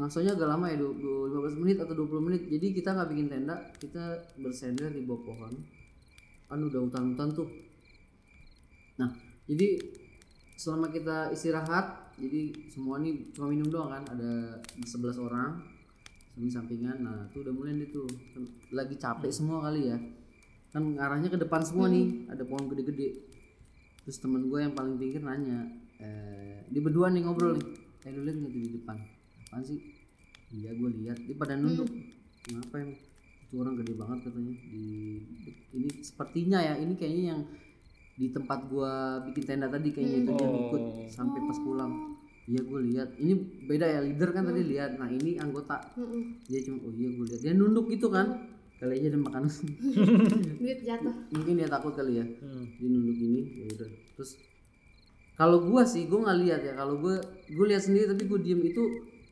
A: Ngasonya agak lama ya du- du- 15 menit atau 20 menit. Jadi kita nggak bikin tenda, kita bersender di bawah pohon. Kan udah hutan-hutan tuh. Nah, jadi selama kita istirahat, jadi semua nih cuma minum doang kan, ada 11 orang samping sampingan. Nah, itu udah mulai nih tuh kan lagi capek semua kali ya. Kan arahnya ke depan semua nih, ada pohon gede-gede. Terus temen gue yang paling pinggir nanya, eh, di berdua nih ngobrol nih. Eh, lu liat nggak tuh di depan? Apaan sih? Iya, gue lihat. Dia pada nunduk. Kenapa emang? Itu orang gede banget katanya. Di ini sepertinya ya, ini kayaknya yang di tempat gua bikin tenda tadi kayaknya itu dia ngikut
C: Oh.
A: sampai pas pulang. Iya gue lihat. Ini beda ya leader kan tadi lihat. Nah ini anggota
B: Mm-mm.
A: dia cuma oh iya gue lihat dia nunduk gitu kan. Kali aja ada makanan.
B: Duit jatuh.
A: Mungkin dia takut kali ya
C: Hmm.
A: dia nunduk gini ya udah terus kalau gua sih gua nggak lihat ya kalau gua gua lihat sendiri tapi gua diem itu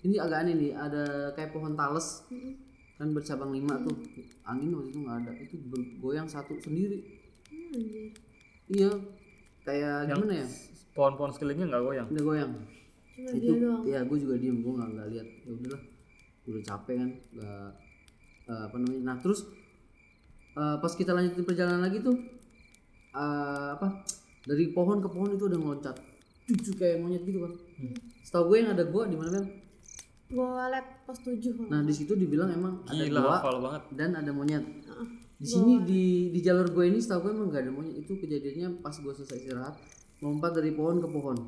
A: ini agak aneh nih ada kayak pohon tales kan bercabang lima tuh angin waktu itu nggak ada itu bergoyang satu sendiri
B: Hmm, anjir.
A: iya kayak gimana ya
C: Pohon-pohon sekelilingnya nggak goyang.
A: udah goyang
B: Cuma
A: itu
B: dia doang.
A: ya gua juga diem gua nggak nggak lihat ya udahlah Gua udah capek kan nggak eh, apa namanya nah terus eh, pas kita lanjutin perjalanan lagi tuh eh, apa dari pohon ke pohon itu udah ngeloncat cucu kayak monyet gitu kan setahu gue yang ada gua di mana Bel?
B: Gua liat pos 7
A: nah di situ dibilang emang ada
C: Gila,
A: gua
C: hafal banget.
A: dan ada monyet di sini di di jalur gue ini setahu gue emang gak ada monyet itu kejadiannya pas gue selesai istirahat lompat dari pohon ke pohon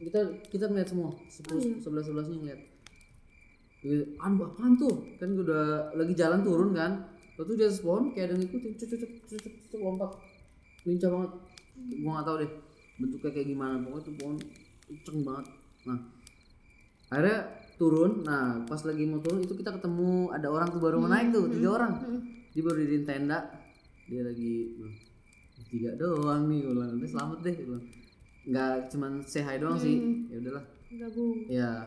A: kita kita ngeliat semua sepuluh sebelas sebelasnya ngeliat Gue, anu apaan tuh kan gue udah lagi jalan turun kan lalu tuh di atas pohon kayak ada yang ngikutin cucuk cucuk cucuk cucuk lompat lincah banget gue nggak tahu deh bentuknya kayak gimana pokoknya tuh pohon kenceng banget nah akhirnya turun nah pas lagi mau turun itu kita ketemu ada orang tuh baru mau naik tuh tiga orang dia baru diriin tenda dia lagi "Loh, tiga doang nih gue bilang udah selamat deh gue bilang nggak cuman say hi doang sih ya udahlah
B: gabung.
A: ya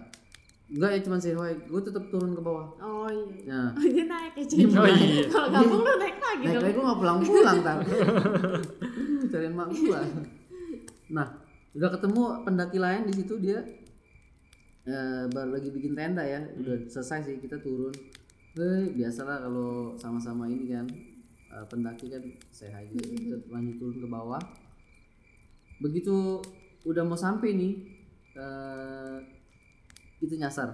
A: nggak ya cuman say hi gue tetap turun ke bawah
B: Oh iya.
A: nah
B: Oh, dia naik ya cuy.
C: Oh, iya.
B: Kalau gabung lu naik lagi
A: Naik
B: dong.
A: lagi gue gak pulang-pulang tar Hmm, Cariin mak gua. Nah udah ketemu pendaki lain di situ dia eh, baru lagi bikin tenda ya udah
C: Hmm.
A: selesai sih kita turun eh, biasalah kalau sama-sama ini kan eh, pendaki kan sehat gitu kita lanjut turun ke bawah begitu udah mau sampai nih eh, itu nyasar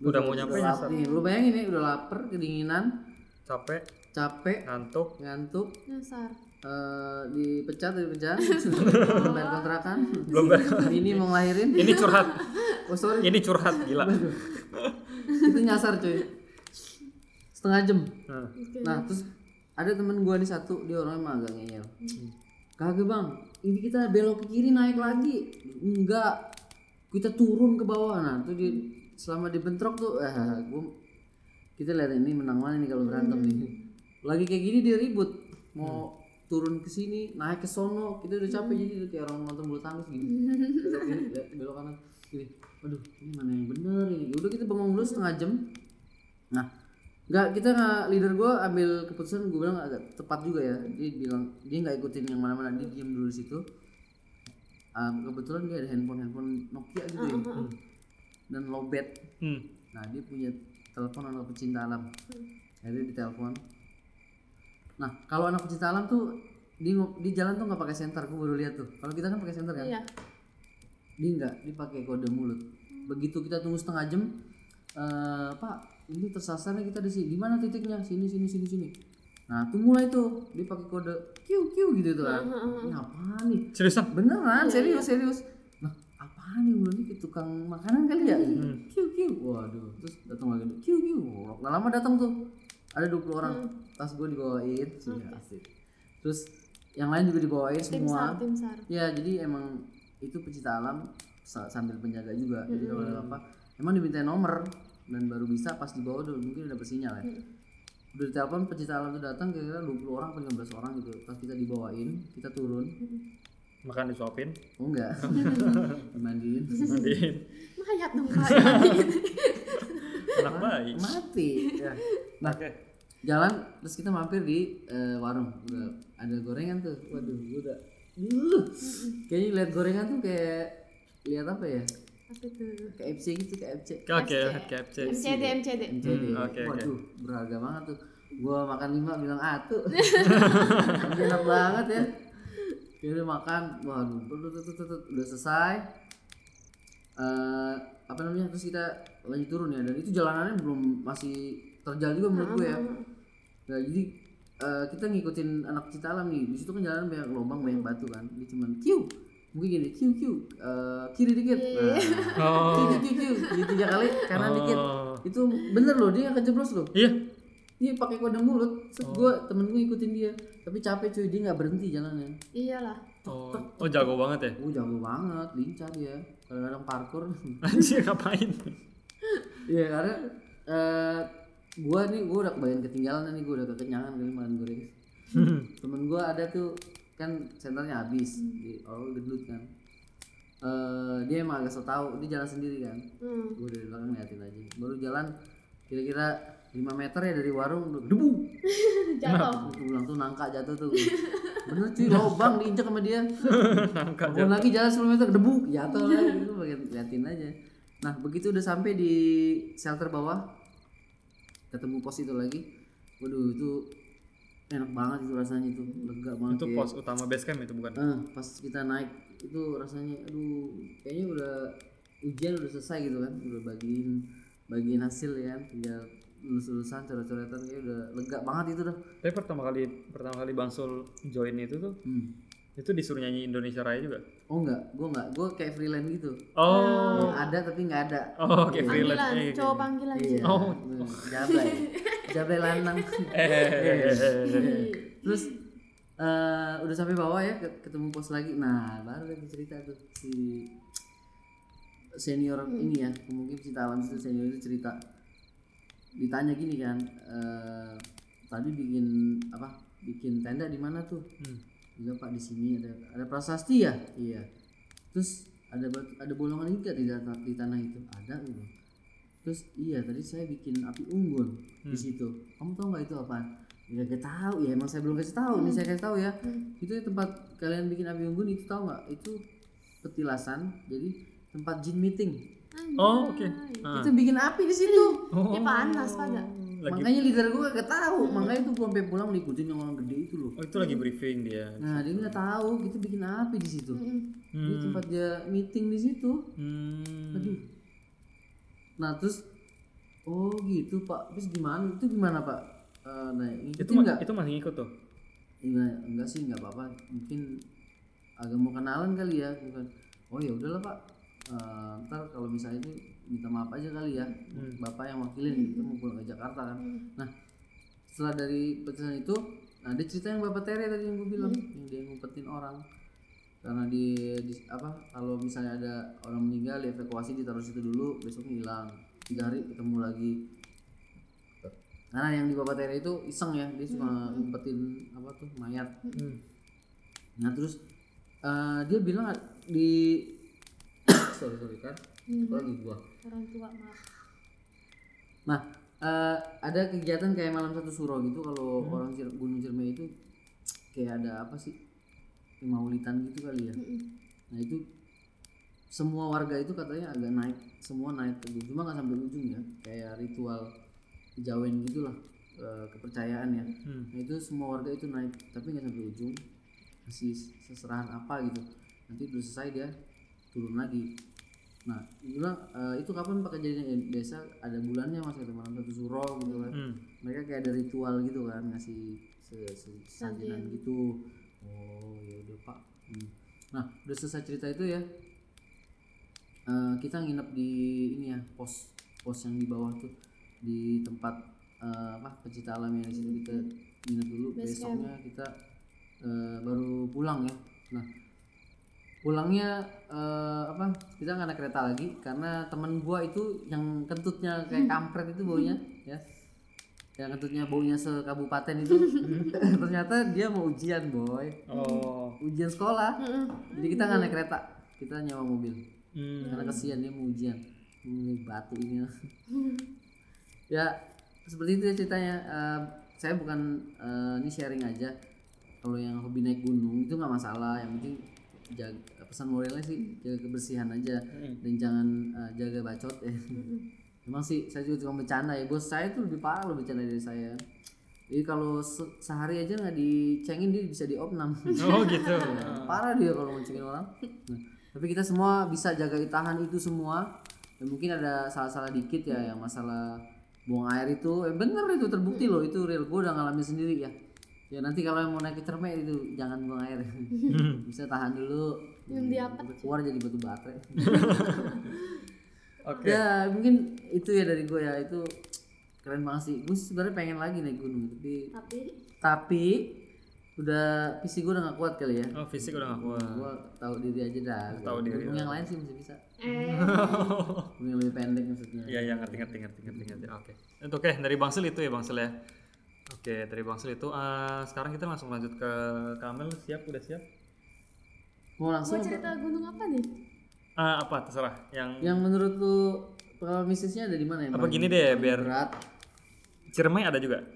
C: Udah mau nyampe
A: udah lap-
C: nyasar.
A: nih, lu bayangin nih udah lapar kedinginan
C: Capek.
A: capek,
C: ngantuk
A: ngantuk,
B: Nyasar.
A: eh, dipecat dari pekerjaan, bayar kontrakan,
C: belum ber-
A: ini mau ngelahirin,
C: ini curhat
A: oh sorry,
C: ini curhat gila
A: itu nyasar cuy, setengah jam.
C: Nah,
B: Gitu.
A: Nah terus ada temen gua nih satu dia orangnya emang agak ngeyel. Kagak bang, ini kita belok ke kiri naik lagi. Enggak, kita turun ke bawah. Nah tuh dia selama dibentrok tuh, eh gua kita lihat ini menang mana nih kalau berantem nih. Lagi kayak gini dia ribut, mau turun ke sini, naik ke sono, kita udah capek jadi udah kayak orang nonton bulu tangkis gini. Belok kiri, lihat belok kanan, gini. Aduh, ini mana yang bener ini? Ya Udah kita bengong dulu setengah jam. Nah, Nggak, kita nggak leader gue ambil keputusan gue bilang agak tepat juga ya dia bilang dia nggak ikutin yang mana-mana dia diam dulu di situ Ah, kebetulan dia ada handphone handphone Nokia gitu ya dan lowbat
C: hmm.
A: nah dia punya telepon anak pecinta alam akhirnya ditelepon nah kalau anak pecinta alam tuh di di jalan tuh nggak pakai senter gue baru lihat tuh kalau kita kan pakai senter kan
B: Iya.
A: dia enggak, dia pakai kode mulut. Begitu kita tunggu setengah jam, eh Pak, ini tersasarnya kita di sini. Di mana titiknya? Sini, sini, sini, sini. Nah, tuh mulai tuh dia pakai kode Q Q gitu tuh kan. Ini apaan nih?
C: seriusan
A: Beneran, serius, serius. Nah, apaan nih mulai ke tukang makanan kali ya? Q Q. Waduh, terus datang lagi Q Q. Gak lama datang tuh. Ada 20 orang. Tas gue dibawain, sudah asik. Terus yang lain juga dibawain
B: Tim
A: semua.
B: sar, tim sar.
A: Ya jadi emang itu pecinta alam sa- sambil penjaga juga. Jadi kalau ada apa, emang diminta nomor dan baru bisa pas di bawah dulu mungkin udah dapet sinyal ya. Udah ditelepon pecinta alam itu datang kira-kira 20 orang atau 15 orang gitu. Pas kita dibawain, kita turun.
C: makan disuapin
A: Oh enggak. Dimandiin.
C: mandiin
B: Mayat dong pak. Gitu.
C: anak baik
A: Mati. Ya. Nah,
C: Oke.
A: jalan terus kita mampir di eh, warung udah ada gorengan tuh waduh gua udah Duh. kayaknya lihat gorengan tuh kayak lihat apa ya
B: Apa itu?
A: KFC gitu KFC
C: oke KFC
B: MCD, MCD.
A: MCD.
C: Hmm, oke,
A: Waduh, berharga banget tuh. Gua makan lima bilang atu. Tapi enak banget ya. Jadi makan, waduh, tut, tut, tut, tut, tut. udah selesai. Eh, apa namanya? Terus kita lanjut turun ya. Dan itu jalanannya belum masih terjal juga menurut gue ya. Nah, jadi eh, kita ngikutin anak cita alam nih. Di situ kan jalanan banyak lubang, banyak batu kan. Dia cuman kiu. Mungkin gini, kiu kiu. Eh, kiri dikit. Nah,
C: oh
A: kiu kiu kiu. Jadi tiga kali kanan dikit
C: Oh.
A: itu bener loh dia kejeblos loh
C: iya
A: dia pakai kode mulut set gue temen gue ikutin dia tapi capek cuy dia nggak berhenti jalannya
B: Iyalah.
C: oh oh jago banget ya
A: gue jago banget lincah dia kadang-kadang parkur
C: anjir ngapain
A: iya karena eh gue nih gue udah kebayang ketinggalan nih gue udah kekenyangan kali makan goreng temen gue ada tuh kan senternya habis di orang gendut kan Eh dia emang agak so tau dia jalan sendiri kan
B: Hmm.
A: gue dari belakang liatin aja baru jalan kira-kira 5 meter ya dari warung udah debu
B: Jatuh.
A: Itu ulang tuh nangka jatuh tuh. Bener cuy, lobang diinjak sama dia.
C: angkat
A: Bangun lagi jalan 10 meter debu, jatuh lagi itu bagian liatin aja. Nah, begitu udah sampai di shelter bawah ketemu pos itu lagi. Waduh, itu enak banget itu rasanya itu lega banget
C: itu
A: ya.
C: pos utama base camp itu bukan
A: Eh, pas kita naik itu rasanya aduh kayaknya udah ujian udah selesai gitu kan udah bagiin bagiin hasil ya kan tinggal lulus-lulusan coret-coretan kayak udah lega banget itu dah
C: tapi pertama kali pertama kali bang Sul join itu tuh
A: Hmm.
C: itu disuruh nyanyi Indonesia Raya juga
A: Oh enggak, gue enggak, gue kayak freelance gitu.
C: oh
A: Ada tapi enggak ada.
C: oh oke freelance
B: Panggilan,
C: Eh,
B: cowok panggilan.
A: Iya.
C: Oh.
A: Hmm, Jablay. Jablay lanang.
C: Eh,
A: Terus eh, udah sampai bawah ya, ke- ketemu pos lagi. Nah, baru lagi cerita tuh si senior
C: Hmm.
A: ini ya, mungkin cerita alam itu senior itu cerita ditanya gini kan, eh, tadi bikin apa? Bikin tenda di mana tuh?
C: Hmm.
A: Enggak pak di sini ada ada prasasti ya? Iya. Terus ada batu- ada bolongan ini nggak di tanah, di tanah itu? Ada gitu. Terus iya tadi saya bikin api unggun
C: Hmm.
A: di situ. Kamu tahu nggak itu apaan? Ya gak tahu ya emang saya belum kasih tahu nih saya kasih tahu ya. Itu tempat kalian bikin api unggun itu tahu nggak? Itu petilasan jadi tempat jin meeting.
C: oh oke Ah.
A: Itu bikin api di situ.
C: Oh.
B: Ya panas pada.
C: lagi
A: Makanya leader gue gak tahu. Makanya itu gue sampai pulang diikutin yang orang gede itu loh.
C: oh, itu lagi briefing dia
A: Nah dia nggak tahu kita bikin api di situ. Jadi
C: Hmm.
A: tempat dia meeting di situ.
C: Hmm.
A: Aduh. Nah terus oh gitu pak, terus gimana? Itu gimana pak? eh, nah, ngikutin
D: Itu, ma-
A: nggak?
D: itu masih ngikut tuh.
A: Enggak, Iya, enggak sih, enggak apa-apa. Mungkin agak mau kenalan kali ya, bukan. Oh ya udahlah Pak. Eh, ntar kalau misalnya itu minta maaf aja kali ya, bapak yang wakilin kita mau pulang ke Jakarta kan. Nah setelah dari petisan itu, nah ada cerita yang bapak Tere tadi yang gue bilang, yang dia ngumpetin orang karena di, di- apa kalau misalnya ada orang meninggal dievakuasi ditaruh situ dulu besok hilang tiga hari ketemu lagi karena yang di bapak Tere itu iseng ya dia cuma ngumpetin apa tuh mayat nah terus eh, dia bilang ad- di sorry sorry kan lagi gua
B: orang tua maaf
A: Nah, eh, ada kegiatan kayak malam satu suro gitu kalau orang Cir- Gunung Ciremai itu kayak ada apa sih? Maulitan gitu kali ya. Nah, itu semua warga itu katanya agak naik, semua naik ke gunung. Cuma nggak sampai ujung ya, kayak ritual jawen gitulah eh, kepercayaan ya. Nah, itu semua warga itu naik, tapi nggak sampai ujung. Masih seserahan apa gitu. Nanti udah selesai dia turun lagi. Nah, bilang "Eh, itu kapan pak kejadian Ya, desa ada bulannya mas kata malam satu suro gitu kan.
D: Hmm.
A: Mereka kayak ada ritual gitu kan ngasih se- se- sesajenan gitu. Oh ya udah pak. Hmm. Nah udah selesai cerita itu ya. eh, kita nginep di ini ya pos pos yang di bawah tuh di tempat eh, apa pecinta alam yang di situ kita nginep dulu besoknya kita eh, baru pulang ya. Nah pulangnya eh, apa kita nggak naik kereta lagi karena teman gua itu yang kentutnya kayak kampret itu baunya ya yang kentutnya baunya sekabupaten itu ternyata dia mau ujian boy
D: Oh.
A: ujian sekolah jadi kita nggak naik kereta kita nyewa mobil
D: Hmm.
A: karena kesian dia mau ujian ini batu ini ya seperti itu ya ceritanya Eh, saya bukan eh, ini sharing aja kalau yang hobi naik gunung itu nggak masalah yang penting jaga, pesan moralnya sih jaga kebersihan aja dan jangan eh, jaga bacot ya emang sih saya juga cuma bercanda ya bos saya tuh lebih parah loh bercanda dari saya jadi kalau se- sehari aja nggak dicengin dia bisa diopnam
D: Oh gitu.
A: parah dia kalau ngucapin orang Nah, tapi kita semua bisa jaga tahan itu semua dan mungkin ada salah-salah dikit ya yang masalah buang air itu eh bener itu terbukti loh itu real gue udah ngalamin sendiri ya ya nanti kalau yang mau naik ke Cerme itu jangan buang air bisa tahan dulu Iya,
B: Belum diapet.
A: keluar jadi batu baterai
D: Oke.
A: ya mungkin itu ya dari gue ya itu keren banget sih gue sebenarnya pengen lagi naik gunung tapi
B: tapi
A: tapi udah PC gue udah gak kuat kali ya
D: Oh fisik udah nggak kuat.
A: gua tahu diri aja dah
D: Tahu diri.
A: Gunung yang lain sih masih bisa
B: eh
A: Gunung yang lebih pendek maksudnya
C: Iya iya ngerti ngerti ngerti ngerti ngerti. Oke. Itu Oke dari Bangsul itu ya Bangsul ya. Oke dari Bangsul itu eh, sekarang kita langsung lanjut ke Kamel siap udah siap.
A: mau
B: mau
A: langsung
B: cerita gunung apa nih
C: Ah, apa terserah yang
A: yang menurut lu pengalaman mistisnya ada di mana ya
C: apa gini deh biar
A: berat
C: Ciremai ada juga.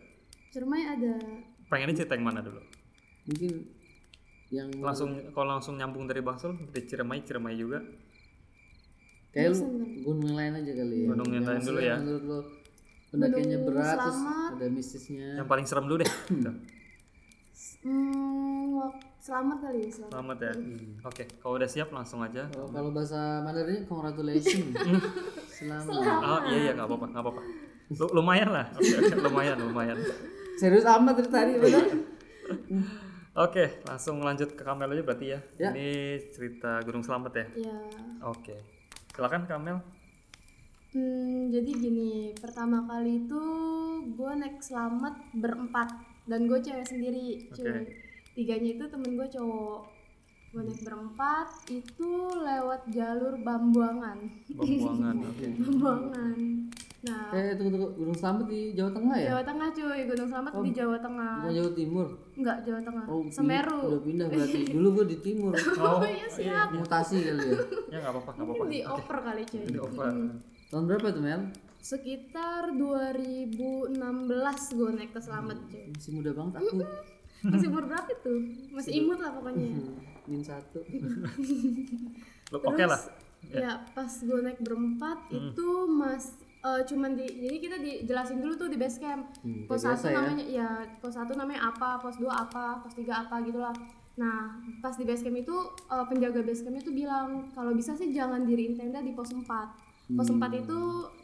B: Cermai ada
C: Pengennya cerita yang mana dulu?
A: mungkin yang
C: Langsung kalau langsung nyambung dari Bangsul dari Ciremai Ciremai juga.
A: kayak lu gunung yang lain aja kali ya
C: Gunung yang lain dulu
A: maksudnya
C: ya.
A: menurut lu pendakiannya berat terus
B: Selamat.
A: ada mistisnya
C: Yang paling serem dulu deh. Gitu.
B: hmm, wak- selamat kali ya selamat
C: Selamat ya. Oke, kalau udah siap langsung aja.
A: kalau kalau bahasa Mandarinnya congratulations selamat
C: Ah, iya iya nggak apa-apa, nggak apa-apa. Lu- lumayan lah. Oke, oke, lumayan, lumayan.
A: serius amat dari tadi bener
C: Iya. Oke, langsung lanjut ke Kamel aja berarti ya.
A: Ya.
C: Ini cerita Gunung Selamat ya.
B: ya
C: Oke. Silakan Kamel.
B: hmm, jadi gini pertama kali itu gue naik selamat berempat dan gue cewek sendiri cewek tiganya itu temen gue cowok gue naik berempat itu lewat jalur bambuangan
C: Pembuangan.
B: bambuangan nah
A: eh tunggu tunggu gunung selamat di Jawa Tengah ya
B: Jawa Tengah cuy Gunung Selamat di Jawa Tengah
A: bukan Jawa Timur
B: Enggak Jawa Tengah
A: Oh, pin-
B: Semeru
A: Udah pindah berarti. Dulu gue di timur.
C: Oh,
B: iya siap
A: Mutasi kali ya.
C: ya nggak apa-apa, nggak apa-apa.
B: mungkin di oper kali cuy
C: Di over.
A: Tahun berapa tuh Mel?
B: sekitar 2016 gue naik ke Selamat cuy
A: Masih muda banget aku.
B: masih umur berapa tuh masih imut lah pokoknya
A: Hmm, Min satu.
C: Lu- Oke lah. Hmm.
B: ya pas gue naik berempat itu mas eh, cuman di jadi kita dijelasin dulu tuh di base camp
A: Hmm,
B: pos
A: kayak
B: satu
A: biasa ya.
B: namanya ya pos satu namanya apa pos 2 apa pos 3 apa gitulah nah pas di base camp itu eh, penjaga base campnya tuh bilang kalau bisa sih
A: Hmm.
B: jangan diriin tenda di pos 4 pos 4 itu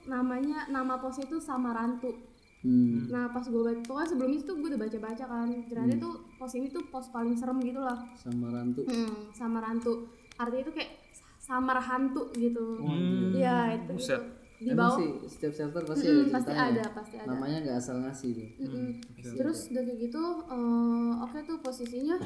B: namanya nama pos itu Samarantu
A: Hmm.
B: Nah pas gue baca, pokoknya sebelum itu gue udah baca-baca kan Ternyata tuh pos ini tuh pos paling serem gitu lah
A: Sama rantu.
B: Hmm, samar hantu artinya itu kayak samar hantu gitu
C: Hmm.
B: Iya itu
C: Buset.
B: gitu. di
A: Emang
B: bawah
A: sih setiap shelter pasti
B: Mm-mm,
A: ada
B: pasti
A: ceritanya.
B: ada pasti ada
A: Namanya nggak asal ngasih tuh.
B: Mm-mm. terus udah kayak gitu eh, oke tuh posisinya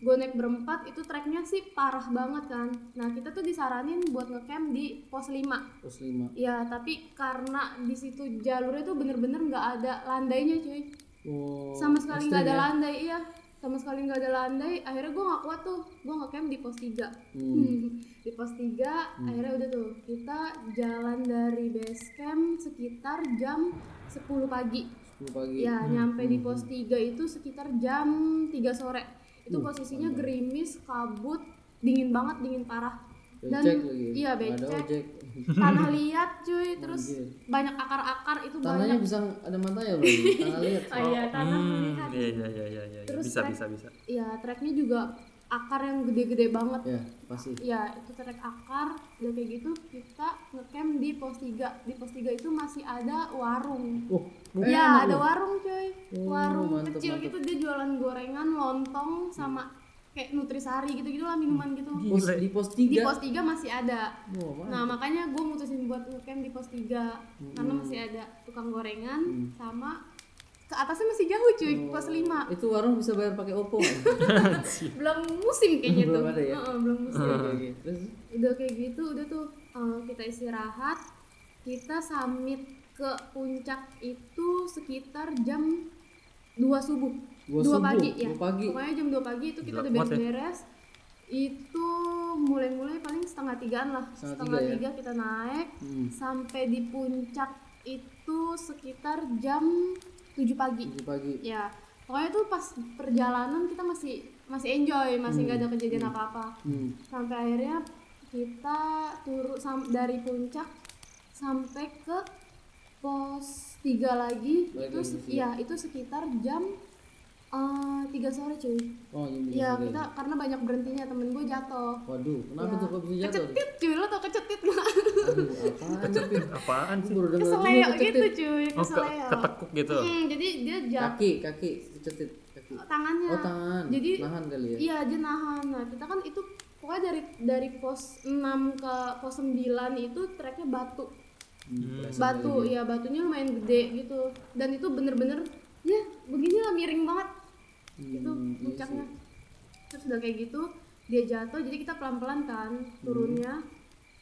B: gue naik berempat itu treknya sih parah banget kan nah kita tuh disaranin buat ngecamp di pos 5
A: Terus lima.
B: ya tapi karena di situ jalurnya tuh bener-bener nggak ada landainya cuy
A: Oh,
B: sama sekali nggak ada
A: ekstrim ya?
B: landai iya sama sekali nggak ada landai akhirnya gue nggak kuat tuh gue ngecamp di pos 3
A: Hmm.
B: di pos 3 akhirnya udah tuh kita jalan dari base camp sekitar jam 10 pagi
A: Sepuluh pagi.
B: ya nyampe
A: hmm,
B: di pos 3 itu sekitar jam 3 sore itu posisinya gerimis kabut dingin banget dingin parah dan
A: Becek lagi. Nggak
B: iya
A: Ada
B: becek
A: ojek.
B: tanah liat cuy terus
A: Anjir.
B: banyak akar-akar itu
A: Tanahnya
B: banyak
A: bisa ada matanya loh. Tanah lihat.
B: oh iya tanah
C: Hmm,
B: melihat
C: iya iya iya iya iya.
B: Terus
C: Bisa
B: kan-
C: bisa bisa.
B: ya treknya juga akar yang gede-gede banget
A: Ya pasti.
B: ya itu trek akar udah kayak gitu kita ngecamp di pos 3 di pos 3 itu masih ada warung
A: Oh,
B: ya ada warung coy warung
A: mantep,
B: kecil
A: mantep.
B: gitu dia jualan gorengan lontong sama kayak nutrisari gitu gitulah minuman gitu
A: pos, di pos
B: di
A: tiga.
B: pos 3 masih ada
A: Wah, mantep.
B: nah makanya gue mutusin buat ngecamp di pos 3
A: Hmm.
B: karena masih ada tukang gorengan sama ke atasnya masih jauh
A: Oh.
B: cuy pos 5
A: Itu warung bisa bayar pakai Oppo. nggak?
B: belum musim kayaknya
A: Belum
B: tuh
A: ada ya?
B: Heeh, belum musim
A: Oke, oke. gitu. Terus
B: udah kayak gitu udah tuh eh, kita istirahat kita summit ke puncak itu sekitar jam 2 subuh
A: Dua
B: 2
A: subuh,
B: pagi ya
A: dua pagi.
B: pokoknya jam 2 pagi itu kita
C: Gila,
B: udah
C: kuat ya.
B: beres-beres itu mulai-mulai paling setengah tigaan lah
A: Setengah
B: setengah
A: tiga ya?
B: tiga kita naik
A: Hmm.
B: sampai di puncak itu sekitar jam 7 pagi
A: tujuh pagi.
B: ya pokoknya tuh pas perjalanan kita masih masih enjoy masih nggak ada kejadian apa-apa
A: Hmm.
B: sampai akhirnya kita turun sam- dari puncak sampai ke pos 3 lagi
A: Balik
B: itu
A: lagi
B: se-
A: ke sini.
B: ya itu sekitar jam eh, 3 sore cuy
A: Oh, jam tiga
B: ya
A: sore.
B: kita karena banyak berhentinya temen gue jatuh
A: Waduh, kenapa
B: Ya.
A: tuh kok bisa jatuh?
B: kecetit cuy lo tau kecetit nggak
A: Aduh, apaan tapi
C: Apaan sih?
A: baru dengar
B: keseleo
A: dulu
B: gitu
A: kecetit.
B: cuy
C: Oh, ke,
B: keseleo
C: ketekuk gitu.
B: Hmm, jadi dia jatuh
A: Kaki, kaki kecetit, kaki.
B: tangannya
A: Oh, tangan.
B: Ah. jadi
A: nahan kali ya.
B: Iya aja nahan. Nah kita kan itu pokoknya dari dari pos 6 ke pos 9 itu treknya batu.
A: Hmm,
B: batu ya batunya lumayan gede gitu. Dan itu bener-bener ya begini lah miring banget gitu
A: Hmm, iya
B: puncaknya. Terus udah kayak gitu dia jatuh jadi kita pelan-pelan kan
A: Hmm.
B: turunnya.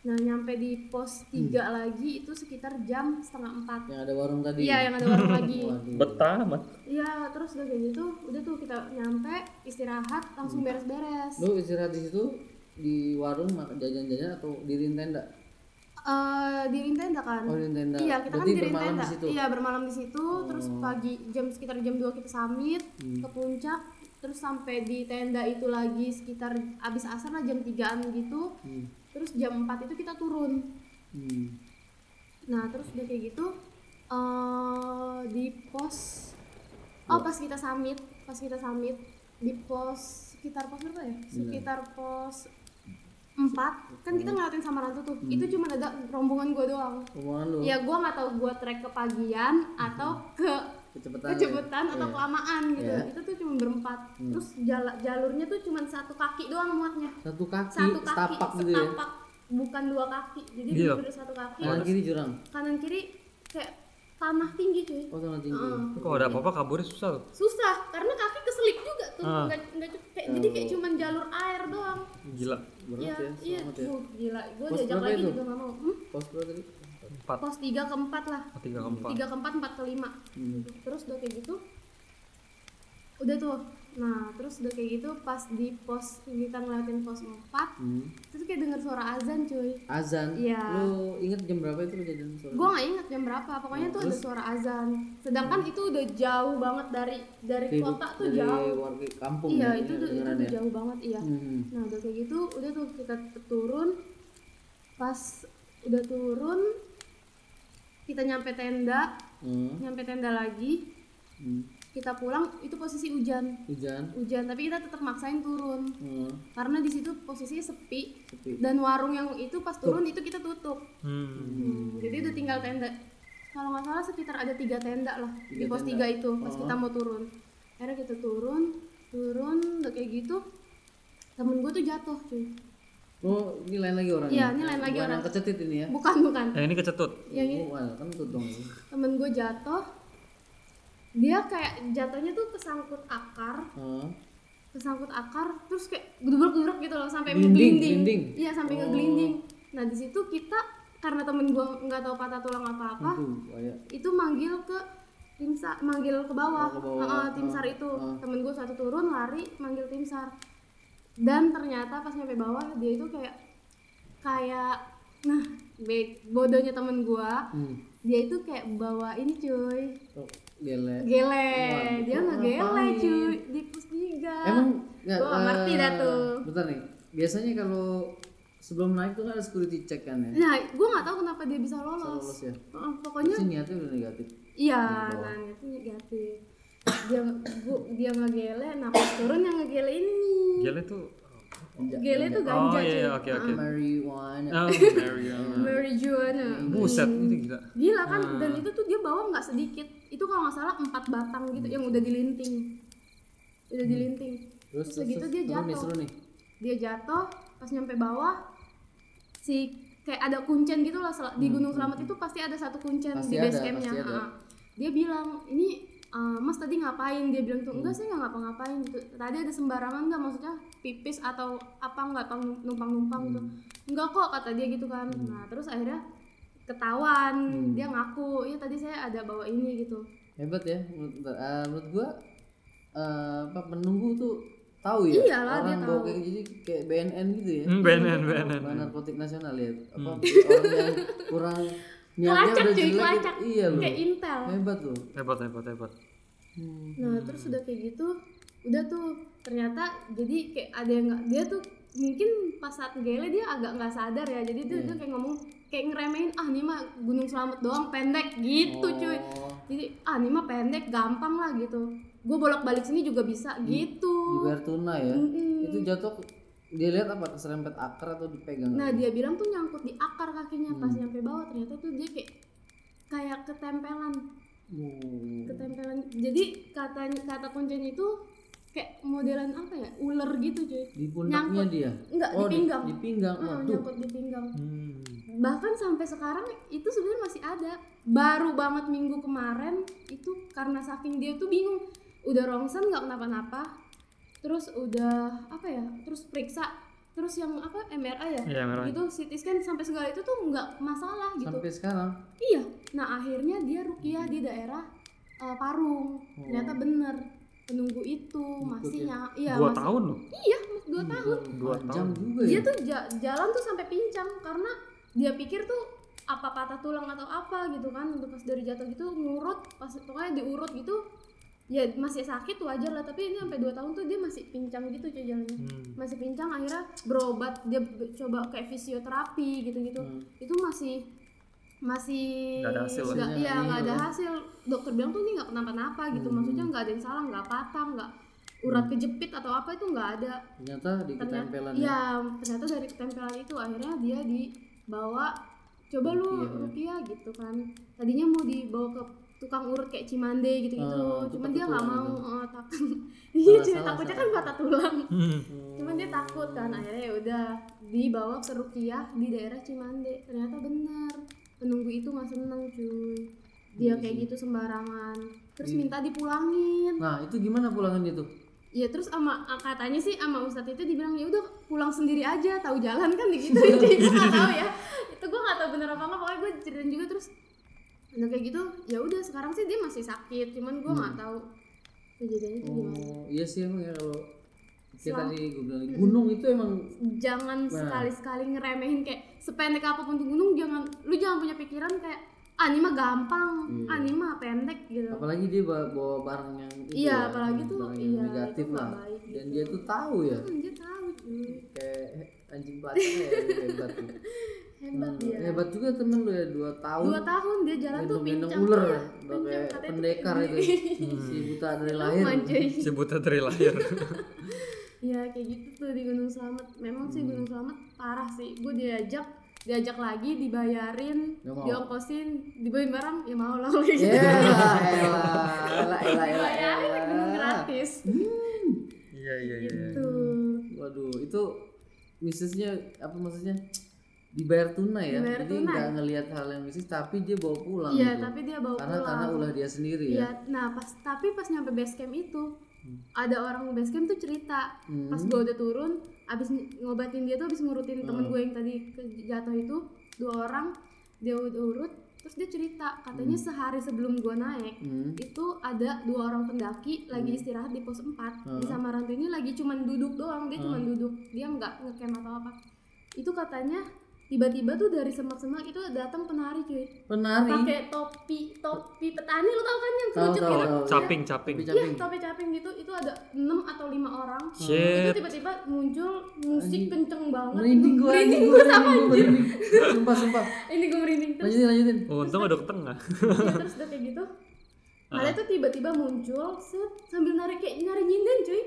B: Nah nyampe di pos 3 lagi itu sekitar jam setengah empat.
A: Yang ada warung tadi.
B: Iya yang ada warung lagi.
A: Waduh.
D: Betah amat.
B: Iya terus udah kayak gitu udah tuh kita nyampe istirahat langsung beres-beres.
A: Hmm. Lu istirahat di situ di warung makan jajan-jajan atau diriin tenda?
B: eh diriin tenda kan?
A: Oh, diriin tenda.
B: Iya, kita
A: Berarti
B: kan diriin
A: bermalam
B: tenda.
A: di situ. Oh.
B: Iya, bermalam di situ, terus pagi jam sekitar jam 2 kita summit
A: Hmm.
B: ke puncak, terus sampai di tenda itu lagi sekitar abis asar lah jam 3-an gitu. Terus jam 4 itu kita turun.
A: Hmm.
B: Nah, terus udah kayak gitu eh di pos Oh, pas kita summit, pas kita summit di pos sekitar pos berapa ya? Sekitar pos 4 kan
A: Hmm.
B: kita ngeliatin sama Rantu tuh itu cuma ada rombongan gue doang
A: Omongan lu
B: ya gue nggak tahu gue trek ke pagian atau ke
A: kecepatan. ya?
B: kecepetan atau
A: Hmm. Iya.
B: kelamaan gitu
A: Iya. Hmm.
B: itu tuh cuma berempat terus jala- jalurnya tuh cuma satu kaki doang muatnya
A: Satu kaki,
B: satu kaki
A: setapak gitu ya.
B: setapak bukan dua kaki jadi
C: Gila.
B: bener satu kaki
A: Kanan kiri jurang.
B: kanan kiri kayak tanah tinggi cuy
A: Oh, tanah tinggi.
B: Heeh.
C: Kalau ada apa-apa kaburnya susah loh.
B: susah karena kaki keselip juga tuh
C: Ah.
B: nggak nggak cukup kayak- jadi kayak cuman jalur air doang
C: Gila.
A: Oh. Berat ya,
B: iya
A: selamat ya.
B: Duh, gila gue
A: Pos
B: diajak
A: berapa
B: lagi
A: itu?
B: juga nggak mau Hmm?
A: Pos berapa tadi?
C: Empat,
B: pos tiga keempat lah
C: tiga, keempat.
B: tiga keempat empat kelima
A: Hmm.
B: terus udah kayak gitu udah tuh nah terus udah kayak gitu pas di pos kita ngeliatin pos empat
A: Hmm.
B: terus kayak denger suara azan cuy
A: Azan.
B: Iya.
A: Lu inget jam berapa itu kejadian sore?
B: gue nggak inget jam berapa pokoknya tuh ada suara azan sedangkan itu udah jauh banget dari dari
A: Hidup
B: kota tuh
A: dari
B: jauh
A: warga kampung
B: iya
A: ya,
B: itu tuh itu
A: kedengeran
B: tuh
A: ya.
B: jauh banget iya
A: Hmm.
B: nah udah kayak gitu udah tuh kita turun pas udah turun kita nyampe tenda
A: Hmm.
B: nyampe tenda lagi
A: Hmm.
B: kita pulang itu posisi hujan
A: Hujan.
B: hujan tapi kita tetap maksain turun
A: Hmm.
B: karena di situ posisinya sepi
A: Sepi.
B: dan warung yang itu pas turun itu kita tutup
C: Hmm.
B: Hmm, jadi udah tinggal tenda kalau nggak salah sekitar ada tiga tenda lah di
A: Tiga
B: pos
A: tenda.
B: tiga itu pas kita mau turun akhirnya kita turun turun udah kayak gitu temen gue tuh jatuh cuy
A: Oh, ini lain lagi orangnya.
B: Iya, ini lain lagi
A: Bukan
B: orang.
A: yang kecetit ini ya.
B: bukan bukan
C: Eh, ini kecetut.
B: yang ini
A: Oh, wah, kentut dong.
B: temen gue jatuh dia kayak jatuhnya tuh kesangkut akar
A: Heeh.
B: kesangkut akar terus kayak gedubrak-gedubrak gitu loh sampai
A: Gelinding,
B: ngegelinding
A: gelinding. Oh.
B: iya sampai ngegelinding nah di situ kita karena temen gua nggak tahu patah tulang apa apa
A: Tuh, kayak
B: itu manggil ke tim sar manggil ke bawah,
A: Oh, ke bawah. ah.
B: Heeh, tim sar itu temen gue satu turun lari manggil tim sar dan ternyata pas nyampe bawah dia itu kayak kayak nah be- bodohnya temen gua
A: hmm,
B: dia itu kayak bawa ini cuy
A: oh, gele.
B: gele
A: Waduh,
B: dia nggak gele
A: ngapain?
B: cuy di pus tiga
A: Emang nggak,
B: Gua nggak
A: eh,
B: ngerti dah tuh.
A: Bentar nih. Biasanya kalau sebelum naik tuh kan ada security check kan ya.
B: nah gue nggak tahu kenapa dia bisa lolos
A: Lolos ya.
B: Heeh, pokoknya
A: Itu niatnya udah negatif.
B: iya nah itu negatif dia gua, dia nggak gele nah pas turun yang nggak gele ini
C: Gele tuh.
B: gele tuh
C: Oh
B: ganja
C: iya, iya,
B: cuy
C: oke oke.
A: Marijuana.
C: Oh, Mariana.
B: marijuana
C: Hmm, Buset, ini Ah. gila.
B: Hmm. gila kan dan itu tuh dia bawa nggak sedikit itu kalau nggak salah empat batang gitu yang udah dilinting udah
C: Hmm.
B: dilinting
A: Terus,
B: terus segitu
A: Seru
B: dia
A: nih,
B: jatuh
A: seru nih.
B: dia jatuh pas nyampe bawah si kayak ada kuncen gitu lah sel- di Gunung Selamat itu pasti ada satu kuncen
A: Hmm, Pasti
B: di base
A: ada,
B: campnya
A: pasti ada.
B: heeh. dia bilang ini eh, Mas tadi ngapain dia bilang tuh
A: Hmm.
B: enggak saya nggak ngapa-ngapain gitu tadi ada sembarangan nggak maksudnya pipis atau apa nggak atau numpang-numpang gitu
A: Hmm.
B: enggak kok kata dia gitu kan nah terus akhirnya ketahuan
A: Hmm.
B: dia ngaku ya tadi saya ada bawa ini gitu
A: Hebat ya. Menurut, bentar, eh, menurut gua eh, apa penunggu tuh tahu ya
B: Iyalah, dia
A: orang bawa
B: tahu.
A: kayak jadi kayak BNN gitu ya.
C: Hmm, BNN, BNN.
A: Bahan narkotik nasional ya.
B: Hmm.
A: Apa orang yang kurang niatnya
B: Kelacak
A: udah
B: cuy,
A: jelek.
B: kelacak.
A: Iya loh.
B: kayak intel
A: Hebat loh.
C: Hebat, hebat, hebat.
A: Hmm.
B: Nah terus udah kayak gitu, udah tuh ternyata jadi kayak ada yang nggak dia tuh mungkin pas saat gele dia agak nggak sadar ya, jadi dia, dia kayak ngomong kayak ngeremehin ah ini mah gunung selamat doang pendek gitu cuy,
A: Oh,
B: jadi ah ini mah pendek gampang lah gitu, gue bolak balik sini juga bisa gitu.
A: dibayar tunai ya.
B: Mm-mm.
A: Itu jatuh dia lihat apa keserempet akar atau dipegang.
B: Nah dia bilang tuh nyangkut di akar kakinya pas nyampe bawah ternyata tuh dia kayak kayak ketempelan
A: Hmm.
B: ketempelan jadi katanya kata kuncinya itu kayak modelan apa ya ular gitu cuy
A: Di pundaknya
B: Nyangkut.
A: dia. Oh,
B: Enggak, di pinggang.
A: Di pinggang.
B: Heeh,
A: Waduh.
B: nyangkut di pinggang
C: Hmm.
B: bahkan sampai sekarang itu sebenarnya masih ada baru banget minggu kemarin itu karena saking dia tuh bingung udah rongsen nggak kenapa-napa terus udah apa ya terus periksa terus yang apa MRI ya
C: Iya, merah.
B: itu CT scan sampai segala itu tuh nggak masalah gitu
A: Sampai sekarang.
B: iya nah akhirnya dia rukiah di daerah eh, Parung ternyata bener penunggu itu masih nya- iya
C: Dua
B: masih
C: tahun loh.
B: iya mas- dua tahun
C: Dua
A: Jam
C: tahun.
A: juga
B: dia
A: ya.
B: tuh ja- jalan tuh sampai pincang karena dia pikir tuh apa patah tulang atau apa gitu kan Udah pas dari jatuh gitu ngurut pas pokoknya diurut gitu ya masih sakit wajar lah tapi ini sampai dua tahun tuh dia masih pincang gitu cuy jalannya
C: Hmm.
B: masih pincang akhirnya berobat dia be- coba kayak fisioterapi gitu-gitu
A: Hmm.
B: itu masih masih
C: Hmm. Nggak ada hasil lah.
B: nggak- iya
A: Hasilnya
B: nggak ada
A: nihil.
B: hasil dokter bilang tuh ini nggak kenapa-napa gitu
C: Hmm.
B: maksudnya nggak ada yang salah nggak patah nggak urat kejepit atau apa itu nggak ada
A: Ternyata di
B: ternyata
A: ketempelan ya.
B: ya ternyata dari ketempelan itu akhirnya dia dibawa coba lu
A: Rukiah, ya.
B: rupiah gitu kan tadinya mau dibawa ke tukang urut kayak Cimande gitu gitu
A: Ah, itu
B: cuman dia nggak
A: patah
B: mau
A: tulang gitu.
B: eh, takut iya
A: Salah,
B: cuy,
A: salah,
B: takutnya kan
A: salah.
B: patah tulang
C: Hmm.
B: cuman dia takut kan akhirnya ya udah dibawa ke rukiah di daerah Cimande ternyata benar penunggu itu nggak seneng cuy
A: Iya
B: dia kayak gitu sembarangan terus minta dipulangin
A: Nah, itu gimana pulangan itu?
B: Ya terus sama katanya sih sama Ustadz itu dibilang ya udah pulang sendiri aja tahu jalan kan gitu jadi gue nggak tahu ya itu gue nggak tahu bener apa nggak pokoknya gue ceritain juga terus nah kayak gitu ya udah sekarang sih dia masih sakit cuman gue nggak tahu kejadiannya itu gimana
A: Hmm. Oh, iya sih emang ya kalau kayak tadi gue bilang gunung itu emang
B: jangan
A: Nah.
B: sekali-sekali ngeremehin kayak sependek apapun tuh gunung jangan lu jangan punya pikiran kayak anima gampang
A: Iya.
B: anima pendek gitu
A: apalagi dia bawa, bawa barang yang itu
B: Iya,
A: ya,
B: apalagi tuh,
A: barang yang
B: iya,
A: negatif
B: itu nggak
A: lah.
B: baik gitu.
A: Dan dia tuh tahu ya
B: Hmm, dia tahu cuy
A: kayak anjing pelatih ya hebat. tuh.
B: hebat
A: Hmm,
B: dia
A: Hebat juga temen lu ya 2 tahun.
B: dua tahun dia jalan tuh
A: Gendong-gendong
B: pincang
A: ular ya,
B: Iya,
A: udah
B: pincang,
A: kayak
B: katanya tuh
A: pendekar
B: kayak
A: itu. Hmm. Si buta dari lahir.
B: Aman, cuy.
C: Si buta dari lahir.
B: Iya, Ya kayak gitu tuh di Gunung Selamat. Memang sih Gunung Selamat parah sih. Gue diajak diajak lagi dibayarin
A: Nggak mau.
B: diongkosin dibawain barang ya mau lah kalau kayak gitu
A: Ya, elah, elah, elah, elah,
B: dibayarin
A: elah.
B: minum gratis
D: Iya iya iya.
B: gitu
A: Waduh, itu misisnya apa maksudnya? Dibayar tunai ya.
B: Dibayar
A: Jadi
B: tunai.
A: nggak ngelihat hal yang misis, tapi dia bawa pulang.
B: iya
A: gitu.
B: tapi dia bawa
A: karena
B: pulang
A: karena ulah dia sendiri ya.
B: Iya, nah pas tapi pas nyampe base camp itu ada orang base camp tuh cerita
A: Hmm.
B: pas gua udah turun abis ng- ngobatin dia tuh abis ngurutin temen
A: Hmm.
B: gue yang tadi ke- jatuh itu dua orang dia udah urut terus dia cerita katanya sehari sebelum gua naik
A: Hmm.
B: itu ada dua orang pendaki lagi istirahat di pos 4
A: Hmm.
B: di Samarantu ini lagi cuman duduk doang dia cuman duduk dia nggak ngecamp atau apa itu katanya tiba-tiba tuh dari semak-semak itu datang penari cuy
A: Penari.
B: pakai topi topi petani lo Iya. tau kan yang
A: Tahu,
B: kerucut
A: tahu,
B: gitu
A: tahu.
C: Iya. Caping, caping.
A: Tapi
B: iya
A: caping.
B: topi caping gitu itu ada 6 atau lima orang
C: Hmm.
B: itu
C: Shit.
B: tiba-tiba muncul musik
A: Anjing.
B: kenceng banget
A: Merinding gue,
B: merinding
A: gue
B: gue sama anjir
A: Sumpah, sumpah.
B: ini gue merinding terus
A: Lanjutin, lanjutin.
C: Oh, Untung ada ke tengah.
B: ya, terus udah kayak gitu
C: Ah.
B: malah itu tiba-tiba muncul set sambil narik kayak nyari nyinden cuy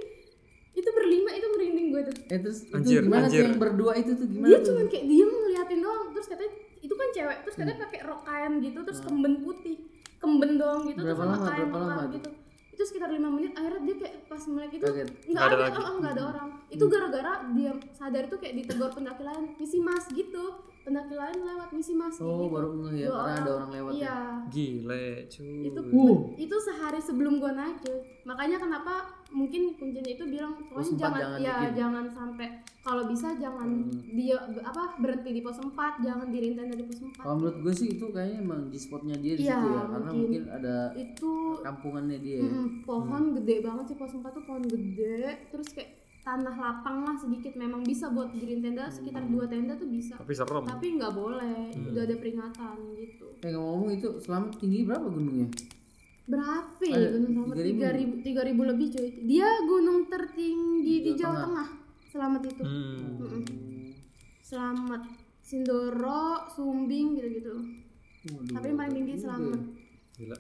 B: itu berlima itu merinding gue tuh
A: Eh terus itu
C: Anjir,
A: gimana sih
C: anjir.
A: yang berdua itu tuh gimana
B: dia
A: tuh?
B: cuman kayak diem ngeliatin doang terus katanya itu kan cewek terus katanya
A: Hmm.
B: pakai rok kain gitu terus kemben putih kemben doang gitu
A: Nah. Berapa
B: terus sama
A: lama,
B: kain
A: berapa
B: pekat
A: lama itu?
B: gitu itu sekitar lima menit akhirnya dia kayak pas melek itu
A: Kaget.
B: nggak
C: Nggak ada
B: ada, oh,
C: lagi.
B: oh,
A: Hmm.
B: nggak ada orang itu gara-gara dia sadar itu kayak ditegur pendaki lain misi mas gitu pendaki lain lewat misi mas kayak
A: Oh
B: gitu.
A: baru ngeh ya,
B: Dua
A: karena ada orang lewat ya.
B: iya
C: Gile, cuy.
B: itu
A: Uh.
B: itu sehari sebelum gua naik cuy makanya kenapa mungkin kuncinya itu bilang pokoknya
A: Oh, sempat
B: jangan,
A: jangan
B: ya
A: bikin." Hmm.
B: jangan sampai kalau bisa jangan dia be- apa berhenti di pos 4 jangan dirintain dari pos 4
A: Kalau menurut gue sih itu kayaknya emang di spotnya dia di
B: Iya,
A: situ ya, karena
B: mungkin.
A: mungkin ada
B: itu
A: kampungannya dia. ya.
B: mm, pohon gede banget sih pos 4 tuh pohon gede terus kayak tanah lapang lah sedikit memang bisa buat bikin tenda sekitar dua tenda tuh bisa
A: Oh.
C: Tapi serem.
B: tapi nggak boleh
A: Hmm.
B: udah ada peringatan gitu
A: Eh ngomong itu selama tinggi berapa gunungnya?
B: berapa
A: Ada
B: ya gunung selamat
A: 3.000?
B: tiga ribu tiga ribu lebih cuy dia gunung tertinggi di Jawa Tengah selamat itu
C: Hmm.
B: Mm-mm. selamat Sindoro Sumbing gitu gitu
A: Waduh.
B: tapi yang paling tinggi selamat
C: Gila.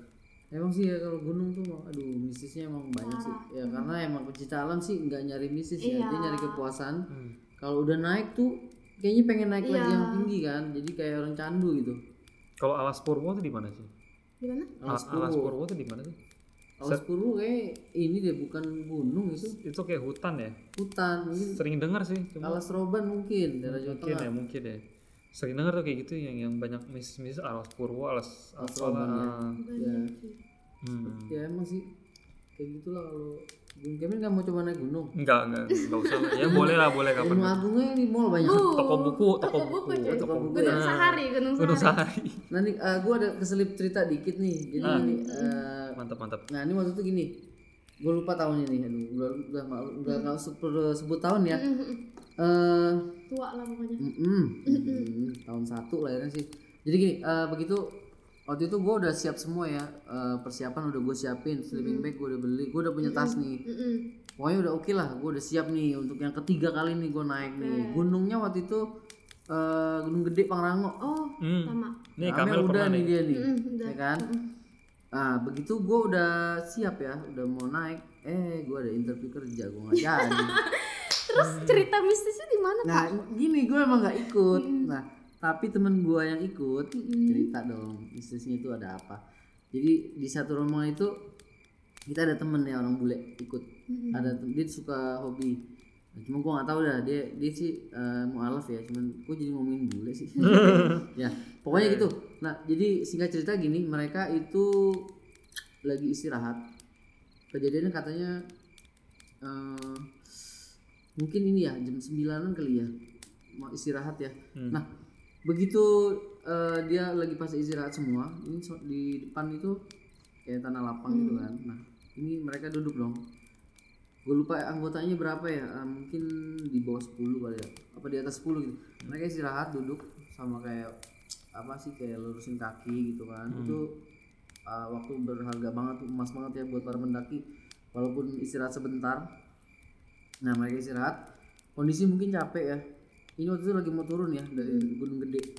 A: Emang sih ya kalau gunung tuh emang- aduh mistisnya emang banyak sih. Ya karena emang pecinta alam sih nggak nyari mistis ya, dia nyari kepuasan.
C: Hmm.
A: Kalau udah naik tuh kayaknya pengen naik lagi yang tinggi kan. Jadi kayak orang candu gitu.
C: Kalau alas purwo itu di mana sih?
B: gimana
C: Al-
A: Alas
C: alas purwo itu di mana sih?
A: Alas Purwo kayak ini deh bukan gunung itu
C: Itu kayak hutan ya.
A: hutan mungkin
C: Sering dengar sih, cuma
A: Alas Roban mungkin daerah Jawa
C: mungkin
A: Tengah.
C: ya mungkin ya. Sering dengar tuh kayak gitu yang yang banyak miss miss alas purwo alas
A: Alas
C: apalah.
A: Roban, ya.
B: banyak sih
C: Hmm.
A: Ya emang sih kayak gitulah kalau Gunung Kemen nggak mau coba naik gunung.
C: Enggak, enggak, enggak usah. lah. Ya boleh lah, boleh kapan.
A: Gunung Agungnya di mall banyak.
B: Bu,
C: Toko buku, toko
B: buku,
C: buku,
B: cuy.
C: toko buku.
B: gunung sehari gunung
C: Gunung
B: sehari
C: sehari.
A: Nanti eh, gua ada keselip cerita dikit nih.
C: Ah.
A: Jadi ini eh,
C: Mantap, mantap.
A: Nah ini waktu itu gini, gue lupa tahunnya nih, aduh udah udah mau udah nggak usah perlu sebut tahun ya. Eh,
B: tua lah pokoknya
A: mm-mm, mm, tahun satu lahirnya sih. Jadi gini, eh, begitu waktu itu gue udah siap semua ya, eh, persiapan udah gue siapin, sleeping bag gue udah beli, gue udah punya tas nih.
B: Mm-mm.
A: Pokoknya udah oke lah, gue udah siap nih untuk yang ketiga kali nih gue naik nih. Gunungnya waktu itu eh, gunung gede Pangrango.
B: oh
C: Hmm.
B: sama
C: Nih
A: Ramel
C: Kamel
A: udah
C: pernah
A: nih
C: nih.
A: dia nih,
B: Mm, udah.
A: ya kan? Nah, begitu gue udah siap ya, udah mau naik. Eh, gue ada interview kerja, gue nggak jadi.
B: terus
C: Hmm.
B: cerita mistisnya di mana
A: nah, gini gue emang nggak ikut. Nah, tapi temen gue yang ikut cerita dong, mistisnya itu ada apa. Jadi di satu rombongan itu kita ada temen ya orang bule ikut. Ada tem- dia suka hobi. Nah, Cuma gue nggak tahu dah dia dia sih eh, mualaf ya. Cuman gue jadi ngomongin bule sih. ya, pokoknya gitu. Nah, jadi singkat cerita gini, mereka itu lagi istirahat kejadiannya katanya eh, mungkin ini ya jam 9-an kali ya mau istirahat ya nah begitu eh, dia lagi pas istirahat semua ini so- di depan itu kayak tanah lapang gitu kan nah ini mereka duduk dong gue lupa anggotanya berapa ya eh, mungkin di bawah 10 kali ya apa di atas 10 gitu mereka istirahat duduk sama kayak apa sih kayak lurusin kaki gitu kan itu uh, waktu berharga banget tuh, emas banget ya buat para pendaki walaupun istirahat sebentar nah mereka istirahat kondisi mungkin capek ya ini waktu itu lagi mau turun ya dari gunung gede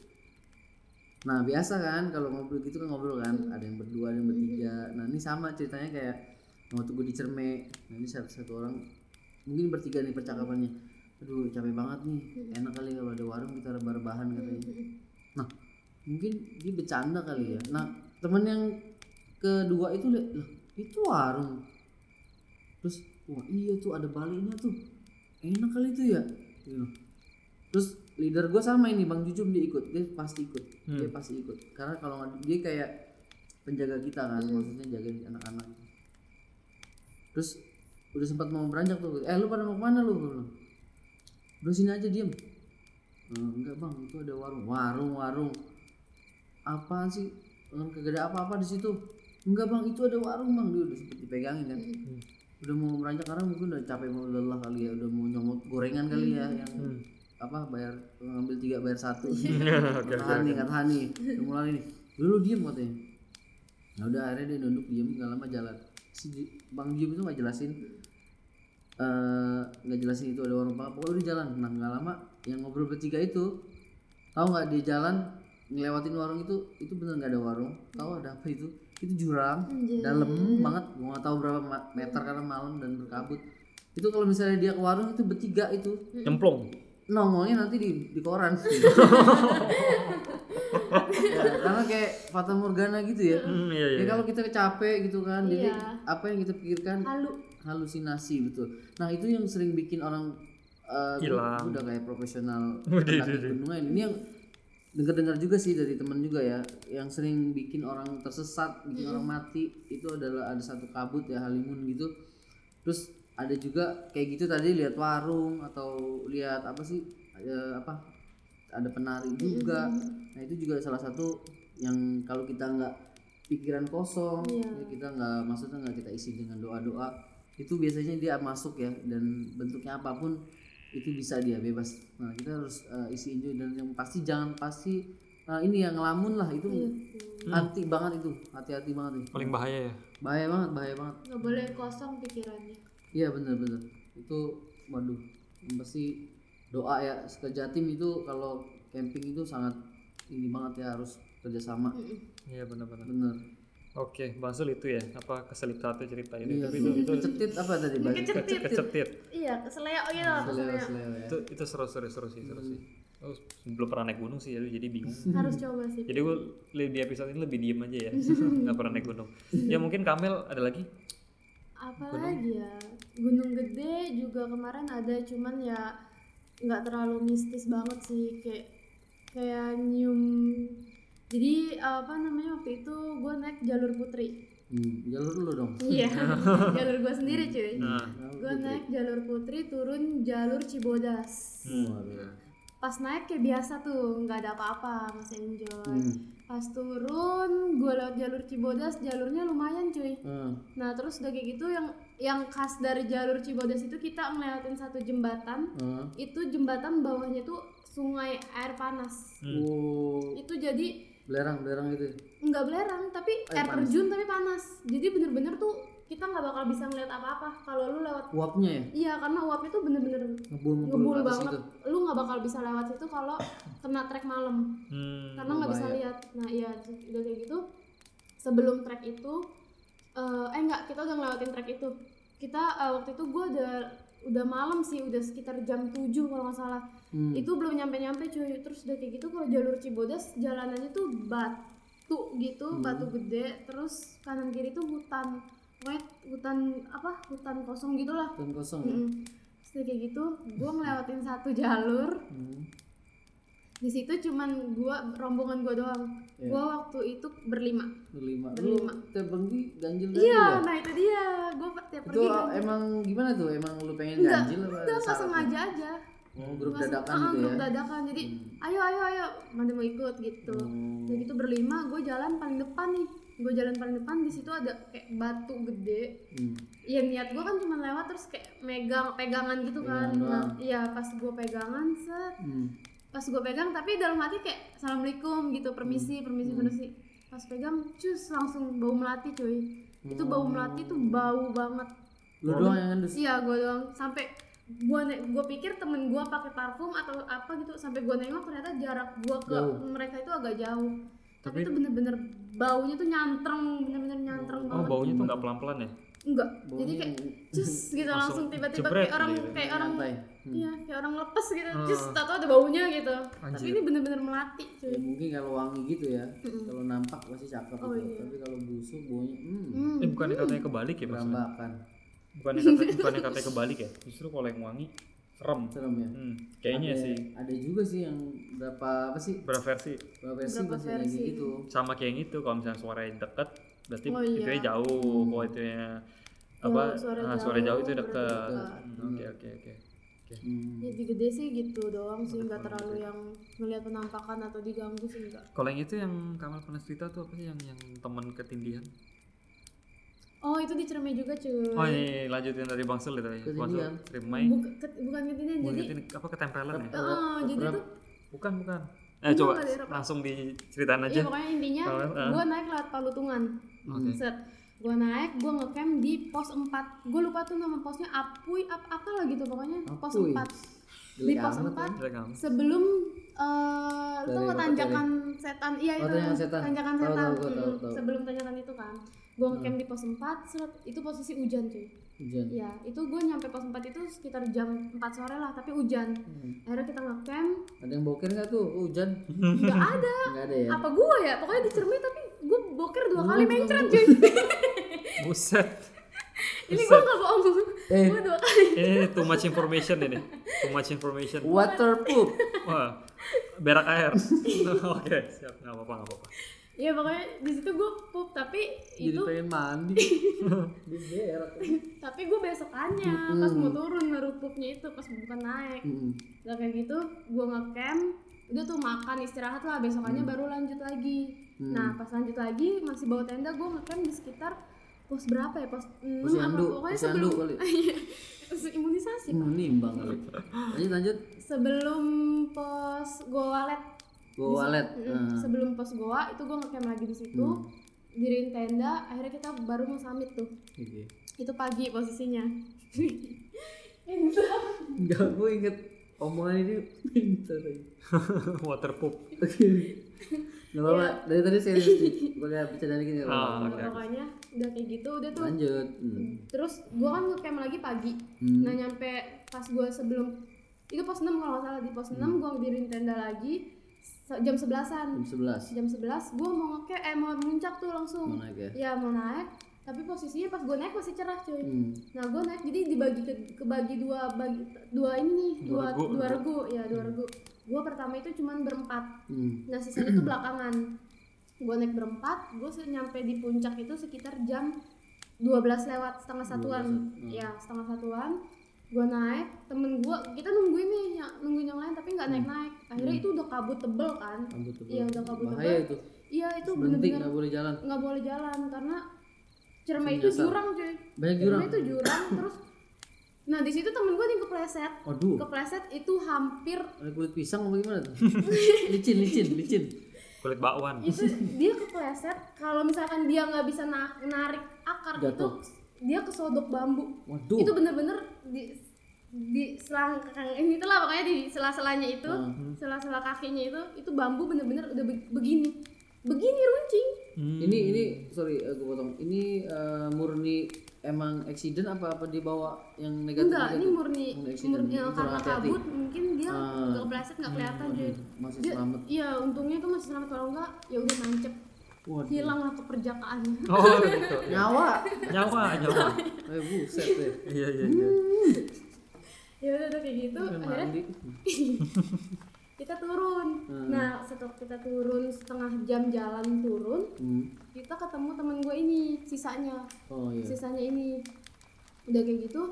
A: nah biasa kan kalau ngobrol gitu kan ngobrol kan ada yang berdua ada yang bertiga nah ini sama ceritanya kayak waktu gue di Cerme nah ini satu, satu orang mungkin bertiga nih percakapannya aduh capek banget nih enak kali kalau ada warung kita rebar-rebahan katanya nah mungkin dia bercanda kali ya nah temen yang kedua itu lihat lah itu warung terus wah iya tuh ada baliknya tuh enak kali itu ya gitu. terus leader gue sama ini bang Jujum dia ikut dia pasti ikut dia pasti ikut karena kalau nggak- dia kayak penjaga kita kan maksudnya jagain anak-anak terus udah sempat mau beranjak tuh eh lu pada mau kemana lu Gua bilang, udah sini aja diem "Eh, enggak bang itu ada warung warung warung apaan sih Em, kagak ada apa-apa di situ enggak bang itu ada warung bang dia udah sempet dipegangin kan udah mau beranjak karena mungkin udah capek mau udah lelah kali ya udah mau nyomot gorengan kali ya yang apa bayar ngambil tiga bayar satu
C: Iya.
A: nggak tahan nih nggak tahan nih udah mulai nih dulu diem katanya nah udah akhirnya dia nunduk diem nggak lama jalan si Ji- bang diem itu nggak jelasin eh, nggak jelasin itu ada warung apa pokoknya udah jalan nah nggak lama yang ngobrol bertiga itu tahu nggak di jalan ngelewatin warung itu itu bener nggak ada warung tahu ada apa itu itu jurang dalam banget gua nggak tahu berapa ma- meter karena malam dan berkabut itu kalau misalnya dia ke warung itu bertiga itu
D: Nyemplung.
A: nongolnya nanti di, di koran Ya, karena kayak fata morgana gitu ya
D: Hmm, iya iya.
A: ya kalau kita capek gitu kan jadi
B: Iya.
A: apa yang kita pikirkan
B: halu
A: halusinasi betul nah itu yang sering bikin orang eh,
D: Hilang.
A: udah kayak profesional pendaki gunungan ini yang dengar-dengar juga sih dari teman juga ya yang sering bikin orang tersesat bikin orang mati itu adalah ada satu kabut ya halimun gitu terus ada juga kayak gitu tadi lihat warung atau lihat apa sih ada apa ada penari juga nah itu juga salah satu yang kalau kita nggak pikiran kosong ya kita nggak maksudnya nggak kita isi dengan doa doa itu biasanya dia masuk ya dan bentuknya apapun itu bisa dia bebas nah kita harus eh, isi itu dan yang pasti jangan pasti eh, ini yang ngelamun lah itu anti banget itu hati-hati banget nih
C: paling bahaya ya
A: bahaya banget bahaya banget
B: nggak boleh kosong pikirannya
A: Iya benar-benar itu waduh yang pasti doa ya ke Jatim itu kalau camping itu sangat ini banget ya harus kerjasama
C: iya benar-benar
A: bener
C: oke Bang Sul itu ya apa keselipatan cerita ini
A: iya
C: tapi
A: itu, itu cetit apa tadi bang
B: kecetit
C: kecetit
B: iya keseleo iya lah
A: Seleo,
B: keseleo
A: seleo ya.
C: itu itu seru seru seru sih seru sih Oh, belum pernah naik gunung sih jadi jadi bingung
B: harus coba sih
C: jadi gue di episode ini lebih diem aja ya nggak pernah naik gunung ya mungkin Kamel ada lagi
B: apalagi ya gunung gede juga kemarin ada cuman ya nggak terlalu mistis banget sih kayak kayak nyium jadi apa namanya waktu itu gue naik jalur putri
A: Hmm, jalur dulu dong
B: iya jalur gue sendiri cuy
A: Hmm. Jalur
B: gue naik jalur putri turun jalur cibodas
A: Hmm. Waduh.
B: pas naik kayak biasa tuh nggak ada apa-apa mas enjoy
A: Hmm.
B: pas turun gue lewat jalur cibodas jalurnya lumayan cuy
A: Hmm.
B: Nah terus udah kayak gitu yang yang khas dari jalur Cibodas itu kita ngelewatin satu jembatan
A: Hmm.
B: itu jembatan bawahnya itu sungai air panas
A: Wow,
B: itu jadi
A: Oh, belerang belerang itu
B: nggak belerang tapi air, terjun tapi panas jadi bener-bener tuh kita nggak bakal bisa ngeliat apa-apa kalau lu lewat
A: uapnya ya
B: iya karena uapnya tuh bener-bener
A: ngebul ngebul,
B: ngebul
A: ke atas
B: banget
A: gitu
B: lu nggak bakal bisa lewat situ kalau kena trek malam
C: hmm.
B: karena nggak bisa
A: Bahaya.
B: lihat nah iya terus udah kayak gitu sebelum trek itu eh, eh enggak kita udah ngelewatin trek itu kita eh, waktu itu gue udah udah malam sih udah sekitar jam 7 kalau nggak salah
A: Hmm.
B: itu belum nyampe nyampe cuy terus udah kayak gitu kalau jalur Cibodas jalanannya tuh batu gitu batu gede terus kanan kiri tuh hutan pokoknya hutan apa hutan kosong gitulah
A: dan kosong ya
B: Mm. Terus udah kayak gitu gue ngelewatin satu jalur
A: Hmm.
B: di situ cuman gua rombongan gua doang
A: Iya.
B: gua waktu itu berlima
A: berlima lu
B: Berlima.
A: terbang di ganjil ganjil ya?
B: iya nah itu dia gua per- tiap
A: itu
B: pergi
A: ah,
B: kan.
A: emang gimana tuh emang lu pengen
B: enggak
A: ganjil apa
B: enggak
A: ada
B: pas
A: syarat?
B: sengaja aja
A: Oh, grup dadakan
B: Langsung, ah,
A: gitu ya
B: grup
A: Hmm.
B: dadakan jadi ayo ayo ayo mana mau ikut gitu
A: Oh,
B: jadi gitu berlima gua jalan paling depan nih gua jalan paling depan di situ ada kayak batu gede
A: Hmm.
B: ya niat gue kan cuma lewat terus kayak megang pegangan gitu kan
A: Pegangan
B: nah,
A: doang.
B: iya pas gue pegangan set
A: Hmm.
B: pas gue pegang tapi dalam hati kayak assalamualaikum gitu permisi permisi permisi pas pegang cus langsung bau melati cuy itu
A: Hmm.
B: bau melati tuh bau banget
A: Lu doang yang ngendus.
B: iya gue doang sampai gue gue pikir temen gue pakai parfum atau apa gitu sampai gue nengok ternyata jarak gue ke
A: Jauh.
B: mereka itu agak jauh tapi, itu bener-bener baunya tuh nyantreng bener-bener nyantreng
C: oh
B: banget
C: baunya tuh nggak pelan pelan ya
B: enggak
A: Baunya
B: jadi kayak cus gitu langsung tiba-tiba
D: jebret
B: kayak orang
D: gitu.
B: kayak orang
A: Nyantai. Hmm.
B: iya kayak orang lepas gitu
D: Ah.
B: cus tato ada baunya gitu tapi
D: Anjir.
B: ini bener-bener melati
A: Ya,
B: cuy
A: mungkin kalau wangi gitu ya
B: Iya. Mm-mm.
A: kalau nampak pasti cakep
B: Oh,
A: gitu.
B: iya.
A: tapi kalau busuk baunya hmm,
B: Hmm.
D: Eh bukannya katanya kebalik ya maksudnya?
A: berambakan
D: Bukannya kata, bukannya katanya kebalik ya? Justru kalau yang wangi serem.
A: serem ya
D: Hmm, kayaknya
A: ada,
D: sih.
A: ada juga sih yang berapa apa sih
D: Berapa versi?
A: berapa versi
B: Berapa
A: masih kayak
B: versi?
A: gitu
D: Sama kayak yang itu kalau misalnya suaranya deket berarti
B: Oh,
D: itu
B: iya.
D: itunya jauh. Kalau itunya apa?
B: Jauh, suara
D: ah, suara jauh,
B: jauh,
D: itu deket.
A: deket.
B: berarti
D: Hmm, Oke oke oke.
A: Hmm.
B: jadi gede sih gitu doang sih nggak terlalu yang melihat penampakan atau diganggu sih enggak
D: Kalau yang itu yang Kamal pernah cerita tuh apa sih yang yang teman ketindihan?
B: oh itu di Ciremai juga cuy
D: Oh iya, iya, lanjutin dari Bang Sul itu ya. Bang Sul,
A: Ketindihan.
D: Ciremai.
B: Buka- ke- bukan ketindihan jadi
D: Bukan apa ketempelan ya?
B: Ah, jadi
A: Keperap.
B: tuh
D: Bukan bukan. Eh
B: Enggak,
D: coba
B: enggak ada apa.
D: langsung diceritain
B: Iya
D: aja.
B: pokoknya intinya
D: Kalau, ah.
B: gue naik lewat Palutungan.
D: Oke.
B: Set. Gue naik, gue ngecamp di pos 4. Gue lupa tuh nama posnya Apuy ap apa lah gitu pokoknya
A: Hmm.
B: pos
A: Apuy.
B: 4. Di
A: Jelek
B: pos
A: amat,
B: 4
D: Jelek amat.
B: sebelum eh
A: Dari
B: lu tau nggak
A: Bapak
B: tanjakan setan iya
A: Oh,
B: itu
A: tanjakan setan.
B: tanjakan
A: Tahu,
B: setan.
A: tahu, gua tahu,
B: Mm,
A: tahu. Mm.
B: sebelum tanjakan itu kan gue ngecamp di pos 4 seret, itu posisi hujan cuy
A: kan? hujan
B: ya itu gue nyampe pos 4 itu sekitar jam 4 sore lah tapi hujan akhirnya kita ngecamp
A: Hmm. ada yang boker nggak tuh Oh, hujan
B: nggak ada
A: nggak ada ya
B: apa gue ya pokoknya di cermin tapi gue boker dua kali
A: Lu-
B: mencret cuy
D: Buset.
B: ini gue nggak bohong
A: eh
B: gue dua kali
D: Ini too much information ini. Too much information.
A: water poop
D: Wah, berak air. Oke, siap. Nggak apa-apa, nggak apa-apa.
B: ya pokoknya di situ gue pup tapi
A: jadi
B: itu
A: pengen mandi di berak
B: tapi gue besokannya pas mau turun baru pupnya itu pas bukan naik
A: Mm-mm.
B: udah kayak gitu gue ngecamp udah tuh makan istirahat lah
A: Hmm.
B: besokannya baru lanjut lagi nah pas lanjut lagi masih bawa tenda gue ngecamp di sekitar pos berapa ya pos enam apa
A: Posyandu,
B: pokoknya
A: posyandu
B: sebelum Iya,
A: kali.
B: imunisasi Pak.
A: Hmm, nimbang kali lanjut lanjut
B: sebelum pos goalet
A: gua walet
B: Mm,
A: Nah.
B: sebelum pos goa itu gue ngecamp lagi di situ
A: Hmm.
B: diriin tenda akhirnya kita baru mau summit tuh
A: Oke.
B: itu pagi posisinya Pintar.
A: Enggak, gue inget omongan ini pintar lagi.
D: Water poop.
A: Oke. Gak apa-apa, dari tadi serius nih. Gue liat bercanda dikit gak apa-apa.
D: Ah, oke.
B: pokoknya udah kayak gitu udah tuh
A: Lanjut. Hmm.
B: terus gue kan ngecamp lagi pagi
A: Hmm.
B: nah nyampe pas gue sebelum itu pos 6 kalau nggak salah di
A: Hmm.
B: pos 6 gue diriin tenda lagi se-
A: Jam
B: jam 11an
A: 11.
B: jam 11 gue mau ngecamp eh mau muncak tuh langsung
A: Mau naik ya?
B: ya mau naik tapi posisinya pas gue naik masih cerah cuy
A: Hmm.
B: Nah, gue naik jadi dibagi ke kebagi dua bagi dua ini nih,
D: Dua regu,
B: dua dua
D: dua.
B: regu, ya dua regu. Gue pertama itu cuman berempat.
A: Hmm.
B: Nah, sisanya tuh belakangan. Gue naik berempat, gue nyampe di puncak itu sekitar jam 12 lewat setengah satuan.
A: 12, hmm.
B: Ya, setengah satuan. Gue naik, temen gue, kita nungguin nih, ya- nungguin yang lain tapi nggak naik-naik. Akhirnya itu udah kabut tebel kan.
A: Hmm. Kabut tebal.
B: Iya, udah kabut
A: Bahaya
B: tebal.
A: itu.
B: Iya, itu
A: Berhenti
B: bener-bener
A: nggak boleh jalan.
B: nggak boleh jalan karena cermai itu
A: Nyasar.
B: jurang cuy
A: Banyak
B: jurang.
A: jurang.
B: itu jurang terus nah di situ temen gue nih kepleset
A: Aduh,
B: kepleset itu hampir
A: ada kulit pisang apa gimana tuh? licin, licin, licin.
D: Kulit bakwan.
B: itu dia kepleset kalau misalkan dia nggak bisa na- narik akar itu
A: Jatuh.
B: dia kesodok bambu
A: Waduh.
B: itu bener-bener di di selangkang ini tuh lah pokoknya di sela-selanya itu
A: Hmm.
B: sela-sela kakinya itu itu bambu bener-bener udah be- begini begini runcing
A: Ini ini sorry eh, gue potong. Ini eh, murni emang accident apa apa dibawa yang negatif?
B: enggak ini
A: negatif?
B: murni
A: Murni accident.
B: murni
A: Ini kurang
B: karena
A: hati-hati.
B: kabut mungkin dia
A: Ah.
B: nggak kepleset nggak kelihatan jadi
A: Masih
B: Dia-
A: selamat.
B: Iya, untungnya itu masih selamat kalau enggak ya udah nancep.
A: Waduh.
B: Hilang lah keperjakaannya.
D: Oh, gitu.
A: Nyawa.
D: Nyawa, nyawa.
A: Eh buset deh.
D: Iya, iya, iya.
B: ya udah udah kayak gitu, akhirnya
A: Mandi.
B: kita turun.
A: Hmm.
B: Nah, setelah kita turun setengah jam jalan turun,
A: Hmm.
B: kita ketemu temen gue ini sisanya,
A: Oh iya.
B: sisanya ini. Udah kayak gitu,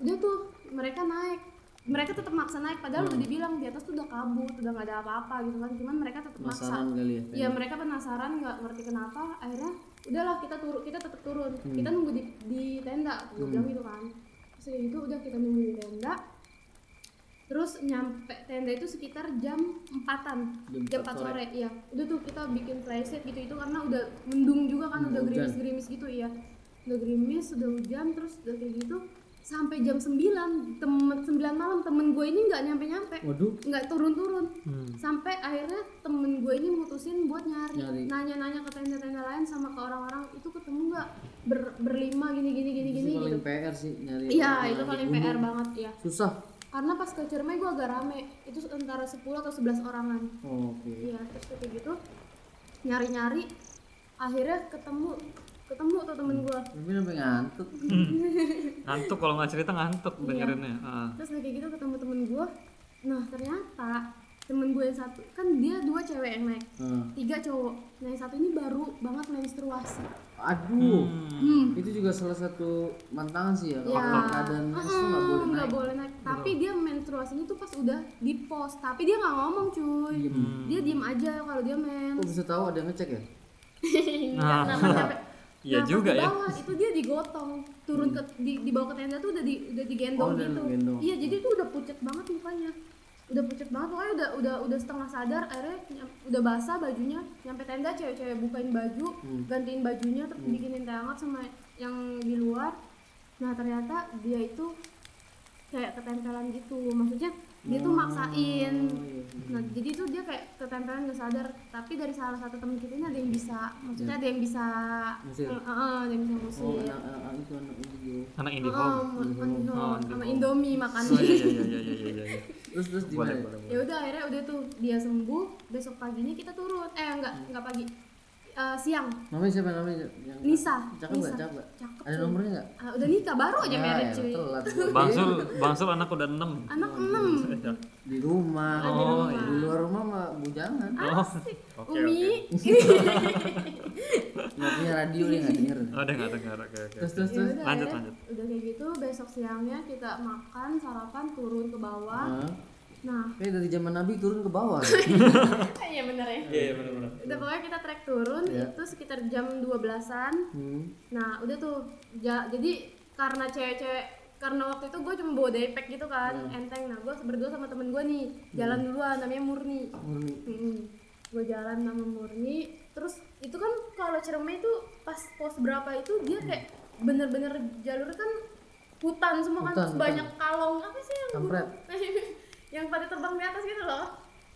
B: udah tuh mereka naik. Mereka tetap maksa naik padahal
A: Hmm.
B: udah dibilang di atas tuh udah kabut, udah nggak ada apa-apa gitu kan. Cuman mereka tetap maksa.
A: Masaran kali ya.
B: ya mereka penasaran nggak ngerti kenapa akhirnya udahlah kita turun kita tetap turun
A: Hmm.
B: kita nunggu di, di tenda gue bilang gitu kan terus kayak gitu udah kita nunggu di tenda terus nyampe tenda itu sekitar jam empatan
A: Jam
B: jam
A: empat
B: empat sore iya udah tuh kita bikin preset gitu itu karena udah mendung juga kan
A: Hmm,
B: udah
A: hujan.
B: gerimis gerimis gitu iya udah gerimis udah hujan terus udah kayak gitu sampai jam 9 temen 9 malam temen gue ini nggak nyampe nyampe
A: Waduh.
B: nggak turun-turun
D: Hmm.
B: sampai akhirnya temen gue ini mutusin buat nyari
A: Nyari.
B: nanya-nanya ke tenda-tenda lain sama ke orang-orang itu ketemu nggak ber- berlima gini gini gini
A: Itu
B: gini gitu.
A: paling PR sih nyari
B: Iya,
A: orang
B: itu
A: yang
B: paling
A: dibunuh.
B: PR banget ya.
A: Susah.
B: Karena pas ke Ciremai gue agak rame, itu antara 10 atau 11 orangan.
A: Oh, Oke.
B: Iya, terus kayak gitu nyari-nyari akhirnya ketemu ketemu tuh temen gue
A: Tapi sampai ngantuk.
D: ngantuk kalau nggak cerita ngantuk
B: Iya.
D: dengerinnya Ah.
B: terus udah kayak gitu ketemu temen gue nah ternyata temen gue yang satu kan dia dua cewek yang naik
A: Hmm.
B: tiga cowok nah yang satu ini baru banget menstruasi
A: Aduh.
B: hmm.
A: Itu juga salah satu mantangan sih ya.
B: ya
A: Kalau keadaan
B: Mm-mm,
A: itu nggak boleh
B: nggak
A: naik. Gitu.
B: boleh naik tapi dia menstruasinya tuh pas udah di pos tapi dia nggak ngomong cuy
A: Gitu.
B: dia diem aja kalau dia men
A: Kok bisa tahu ada yang ngecek ya?
B: Iya. nah, nah,
D: Ah. Iya juga ya.
B: bawah, itu gitu? dia digotong turun ke di, dibawa ke tenda tuh udah di, udah
A: Oh,
B: digendong
A: udah
B: gitu
A: digendong.
B: iya jadi tuh udah pucet banget mukanya udah pucet banget pokoknya udah udah udah setengah sadar akhirnya nyam- udah basah bajunya nyampe tenda cewek-cewek bukain baju
A: Hmm.
B: gantiin bajunya terus bikinin teh hangat sama yang di luar nah ternyata dia itu kayak ketempelan gitu maksudnya dia
A: Oh,
B: tuh maksain
A: iya.
B: nah jadi tuh dia kayak ketempelan gak sadar tapi dari salah satu temen kita ini ada yang bisa maksudnya ada yang bisa
A: Ngusir.
B: Eh, eh, ada yang bisa musik
A: Oh, anak, anak, anak itu anak indigo.
D: anak ini
B: Oh,
D: home
B: sama Indomie makannya
A: Oh,
D: iya iya iya iya iya iya
A: Terus terus di mana? ya?
B: ya udah akhirnya udah tuh dia sembuh besok paginya kita turun eh enggak enggak pagi Eh, siang
A: Namanya siapa namanya? Yang
B: Nisa
A: Cakep
B: Nisa
A: nggak? Cakep nggak?
B: Cakep
A: Ada
B: sih.
A: nomornya nggak?
B: Ah, udah nikah baru aja
A: Ah,
B: married
A: ya,
B: cuy
A: Telat.
D: bang sul bang sul anak udah enam
B: anak enam
A: Di rumah.
B: ada di rumah
A: Di luar rumah mah bujangan.
C: Oh.
B: Asik. Umi ya
A: Nggak punya radio dia nggak denger.
D: oh udah nggak dengar oke oke
A: Terus terus
B: Ya
A: terus.
B: udah,
D: Lanjut,
B: akhirnya
D: lanjut.
B: udah kayak gitu besok siangnya kita makan sarapan turun ke bawah
A: Hah?
B: nah
A: Kayak Eh, dari zaman Nabi turun ke bawah.
B: iya bener ya
D: iya iya benar benar
B: udah pokoknya kita trek turun itu sekitar jam 12an
A: Hmm.
B: nah udah tuh ja- jadi karena cewek-cewek karena waktu itu gue cuma bawa daypack gitu kan enteng nah gue berdua sama temen gue nih jalan duluan namanya Murni
A: Murni.
B: gue jalan sama Murni terus itu kan kalau Ciremai itu pas pos berapa itu dia
A: Mm.
B: kayak bener-bener jalurnya kan hutan semua kan
A: Hutan,
B: terus
A: hutan.
B: banyak kalong apa sih yang
A: Kampret.
B: burung- yang pada terbang di atas gitu loh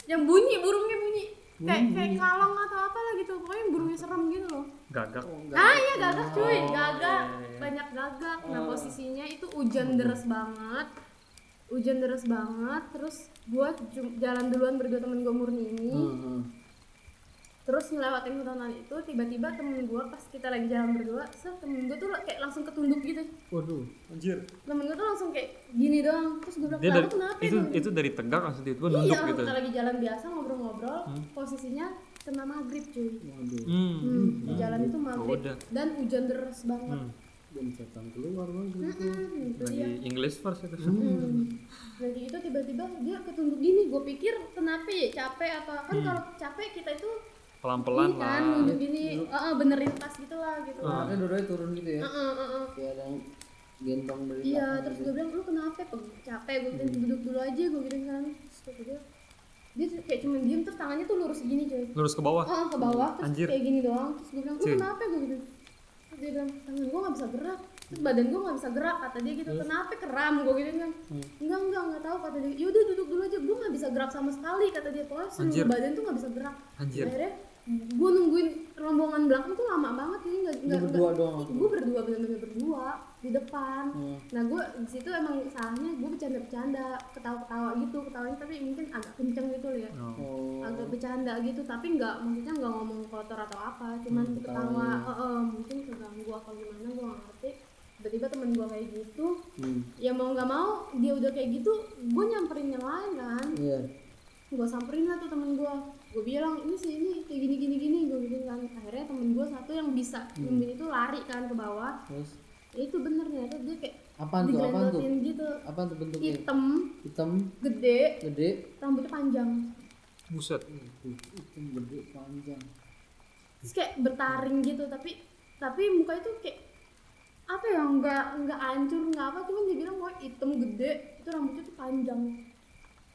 B: yang bunyi burungnya bunyi kayak kayak kalong atau apalah gitu pokoknya yang burungnya serem gitu loh
D: gagak
B: ah iya gagak
A: Oh,
B: cuy
A: iya,
B: gagak banyak gagak nah posisinya itu hujan deras banget hujan deras banget terus gue jalan duluan berdua temen gue murni ini
A: Hmm.
B: terus ngelewatin hutan itu tiba-tiba temen gue pas kita lagi jalan berdua set temen gue tuh kayak langsung ketunduk gitu
A: Waduh.
D: anjir
B: temen gue tuh langsung kayak gini doang terus gue bilang
D: dia dari,
B: lalu kenapa
D: itu
B: Bang?"
D: itu dari tegak langsung tiba-tiba
B: iya
D: nunduk gitu
B: kita lagi jalan biasa ngobrol-ngobrol posisinya kena maghrib cuy
A: Waduh.
D: hmm Oh,
B: Hmm, di jalan itu maghrib
D: udah. Hmm.
B: dan hujan deras banget
C: Hmm.
A: Dan setan keluar bang.
B: Mm-mm, gitu
D: lagi
B: dia.
D: English first itu
B: Hmm. Lagi itu tiba-tiba dia ketunduk gini, gue pikir kenapa ya capek apa kan kalau capek kita itu
D: pelan-pelan Hmm.
B: ini kan
D: lah Ah.
B: nunduk gini, ah ah, benerin tas gitu lah gitu. lah.
A: Makanya dua turun gitu ya.
B: Ah, ah, ah, ah.
A: Kayak ada yang gendong dari
B: Iya,
A: belakang
B: terus
A: gitu.
B: gue bilang lu kenapa ya, Peng? capek gue bilang duduk dulu aja gue bilang kan. Terus kata dia, dia tuh kayak cuma diem terus tangannya tuh lurus gini coy.
D: lurus ke bawah
B: Oh, ke bawah terus
D: Anjir.
B: kayak gini doang. Terus gue bilang, "Lu
D: Cuy.
B: kenapa?" gue gitu. Terus dia bilang, "Tangan gue nggak bisa gerak." Terus badan gue nggak bisa gerak kata dia gitu. "Kenapa keram?" gue gitu kan.
D: Hmm.
B: "Enggak, enggak, enggak tahu." kata dia. "Yaudah duduk dulu aja. Gue nggak bisa gerak sama sekali." kata dia. "Pokoknya seluruh
D: Anjir.
B: badan tuh nggak bisa gerak."
D: Anjir.
B: Akhirnya gue nungguin rombongan belakang tuh lama banget ini nggak nggak
A: berdua doang waktu
B: gue berdua bener-bener berdua di depan
A: Hmm.
B: nah gue di situ emang salahnya gue bercanda-bercanda ketawa-ketawa gitu ketawanya tapi mungkin agak kenceng gitu loh ya
A: Oh.
B: agak bercanda gitu tapi nggak maksudnya nggak ngomong kotor atau apa cuman ketawa eh, eh, mungkin keganggu atau gimana gue nggak ngerti tiba-tiba temen gue kayak gitu
A: Hmm.
B: ya mau nggak mau dia udah kayak gitu gue nyamperin yang lain kan
A: Iya.
B: gue samperin lah tuh temen gue gue bilang ini sih ini kayak gini gini gini gue bikin kan akhirnya temen gue satu yang bisa nyembuhin itu lari kan ke bawah
A: Terus
B: ya itu bener ternyata dia kayak
A: apaan tuh? Apaan tuh?
B: digrendotin gitu
A: Apaan tuh bentuknya?
B: hitam
A: Hitam,
B: gede
A: gede,
B: rambutnya panjang
D: buset
A: Tuh, hitam gede panjang.
B: terus kayak bertaring gitu tapi tapi muka itu kayak apa ya nggak nggak hancur nggak apa cuman dia bilang wah hitam gede itu rambutnya tuh panjang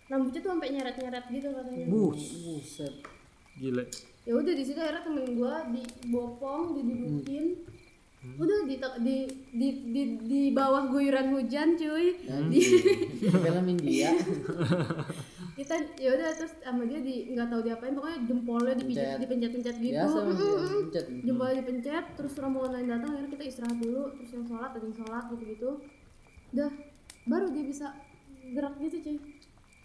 B: rambutnya tuh sampai nyeret nyeret gitu katanya
A: Bus. Buset.
D: gile
B: ya udah di situ akhirnya temen gue dibopong didudukin
A: Hmm.
B: udah di, di di di di bawah guyuran hujan cuy
A: Dan
B: di, Hmm.
A: film India ya,
B: kita ya udah terus sama dia di nggak tahu diapain pokoknya jempolnya dipencet
A: Pencet.
B: dipencet pencet gitu
A: biasa
B: Mm,
A: Bang.
B: mm, mm.
A: Pencet.
B: jempolnya dipencet terus rombongan lain datang akhirnya kita istirahat dulu terus yang sholat ada yang sholat gitu gitu udah baru dia bisa gerak gitu cuy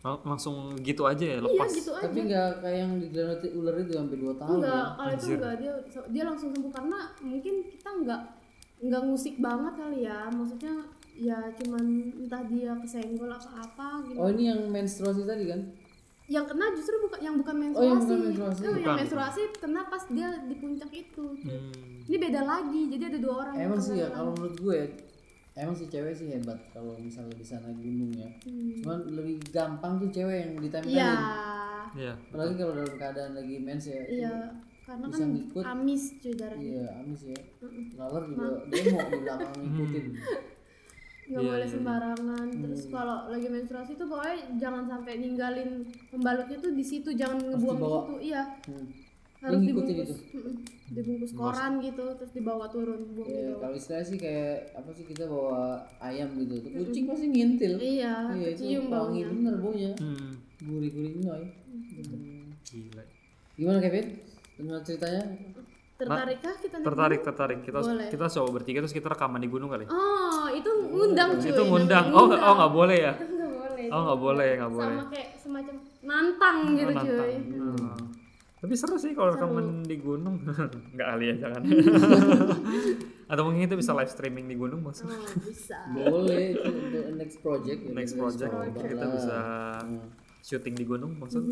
C: Lang- langsung gitu aja ya
B: iya
C: lepas
B: gitu aja
A: tapi nggak kayak yang digelarati ular itu sampai dua tahun
B: enggak
A: ya.
B: kalau itu
C: Anjir.
B: enggak dia dia langsung sembuh karena mungkin kita enggak enggak ngusik banget kali ya maksudnya ya cuman entah dia kesenggol apa apa gitu
A: oh ini yang menstruasi tadi kan
B: yang kena justru bukan yang bukan
A: Oh,
B: menstruasi
A: yang bukan menstruasi.
B: Eh, yang
C: Bukan.
B: menstruasi kena pas dia di puncak itu
C: Hmm.
B: ini beda lagi jadi ada dua orang yang
A: emang
B: kena
A: sih ya
B: kan.
A: kalau menurut gue emang sih cewek sih hebat kalau misalnya di sana gunung ya
B: Hmm.
A: cuman lebih gampang tuh cewek yang ditempelin
B: iya
C: Iya.
A: apalagi kalau dalam keadaan lagi mens ya
B: iya karena
A: Bisa
B: kan
A: ngikut.
B: amis cuy darahnya
A: iya amis ya
B: Mm-mm.
A: laler juga demo di belakang ngikutin
C: Iya,
B: nggak boleh sembarangan
A: Hmm.
B: terus kalau lagi menstruasi tuh pokoknya jangan sampai ninggalin pembalutnya tuh di situ jangan ngebuang di
A: dibawa.
B: situ iya
A: Hmm.
B: harus
A: ngikutin
B: dibungkus Mm-mm. dibungkus koran gitu terus dibawa turun buang
A: Ya,
B: gitu. dibawa.
A: kalau istilah sih kayak apa sih kita bawa ayam gitu tuh kucing pasti ngintil
B: iya
A: iya itu
B: kecium
A: wangi
B: baunya
A: bener baunya
C: Hmm.
A: gurih-gurih nyoy
B: Mm-hmm.
C: Gila.
A: gimana Kevin dengar ceritanya
B: tertarikkah kita naik
C: Tertarik,
B: gunung?
C: tertarik. Kita
B: Boleh.
C: kita coba bertiga terus kita rekaman di gunung kali.
B: oh iya, itu ngundang cuy
C: Itu ngundang. Oh, nggak- oh nggak boleh ya?
B: Itu nggak boleh
C: Oh, nggak boleh, nggak boleh. Oh,
B: sama kayak semacam nantang gitu cuy
C: nantang. Hmm. Tapi seru sih kalau rekaman di gunung. Enggak kali ya, jangan. Atau mungkin kita bisa live streaming di gunung Mas.
B: oh iya, bisa
A: boleh itu untuk next project Nah, ya
C: Next project kita bisa syuting di gunung maksud.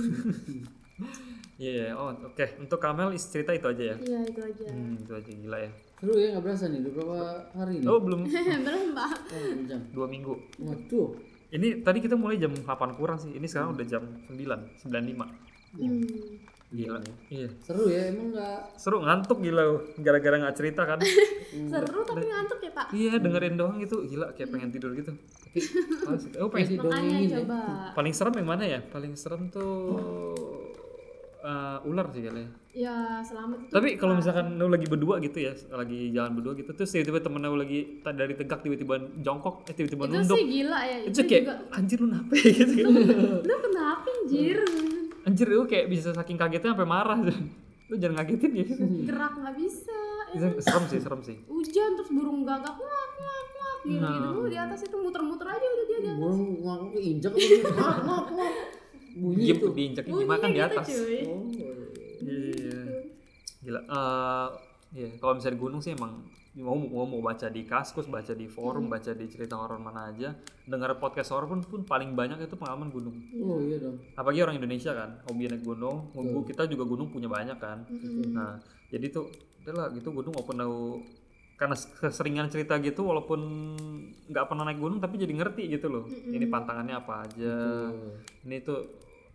C: Iya, oh oke. Untuk Kamel is- cerita itu aja ya.
B: iya itu aja
C: Hmm, itu aja gila ya.
A: seru ya nggak berasa nih udah berapa hari nih
C: Oh, belum
B: belum mbak
A: Oh, berapa jam
C: dua minggu.
A: waduh
C: Ini tadi kita mulai jam 8 kurang sih. Ini sekarang udah jam 9, 95. Iya.
B: Hmm.
C: Gila. Iya.
A: seru ya emang nggak
C: Seru ngantuk gila lu. gara-gara nggak cerita kan.
B: seru tapi ngantuk ya pak
C: iya, dengerin doang itu gila kayak pengen tidur gitu. Tapi oh, sih. oh, pengen
A: sih
B: makanya
A: dongengin ya
B: coba
C: paling serem yang mana ya? Paling serem tuh eh, ular sih kali ya.
B: ya selamat itu
C: Tapi kalau misalkan lu lagi berdua gitu ya, lagi jalan berdua gitu terus tiba-tiba temen lu lagi ta- dari tegak tiba-tiba jongkok, eh tiba-tiba
B: itu
C: nunduk.
B: sih gila ya
C: Itu kayak
B: juga
C: anjir lu nape gitu.
B: lu kenapa anjir
C: Anjir lu kayak bisa saking kagetnya sampai marah. Lu jangan ngagetin gitu.
B: gerak nggak bisa ya kan?
C: serem sih, serem sih.
B: hujan terus burung gagak nguak nguak nguak gitu gitu
C: Nah.
B: Lu di atas itu muter-muter aja udah dia dia
A: burung ngaku injek apa ngaku bunyi
C: Diem
A: itu
C: diinjak
B: bunyinya
C: dimakan di
B: gitu,
C: atas.
B: cuy.
A: oh
C: Iya. Gila. Eh, Iya, kalau misalnya di gunung sih emang mau mau, mau baca di kaskus, baca di forum, baca di cerita horor mana aja, dengar podcast horor pun pun paling banyak itu pengalaman gunung.
A: oh iya dong
C: Apalagi orang Indonesia kan, hobi naik gunung, Gua- kita juga gunung punya banyak kan. Nah, jadi tuh udahlah gitu gunung walaupun tahu karena keseringan cerita gitu walaupun nggak pernah naik gunung tapi jadi ngerti gitu loh. Ini pantangannya apa aja.
A: Betul.
C: Ini tuh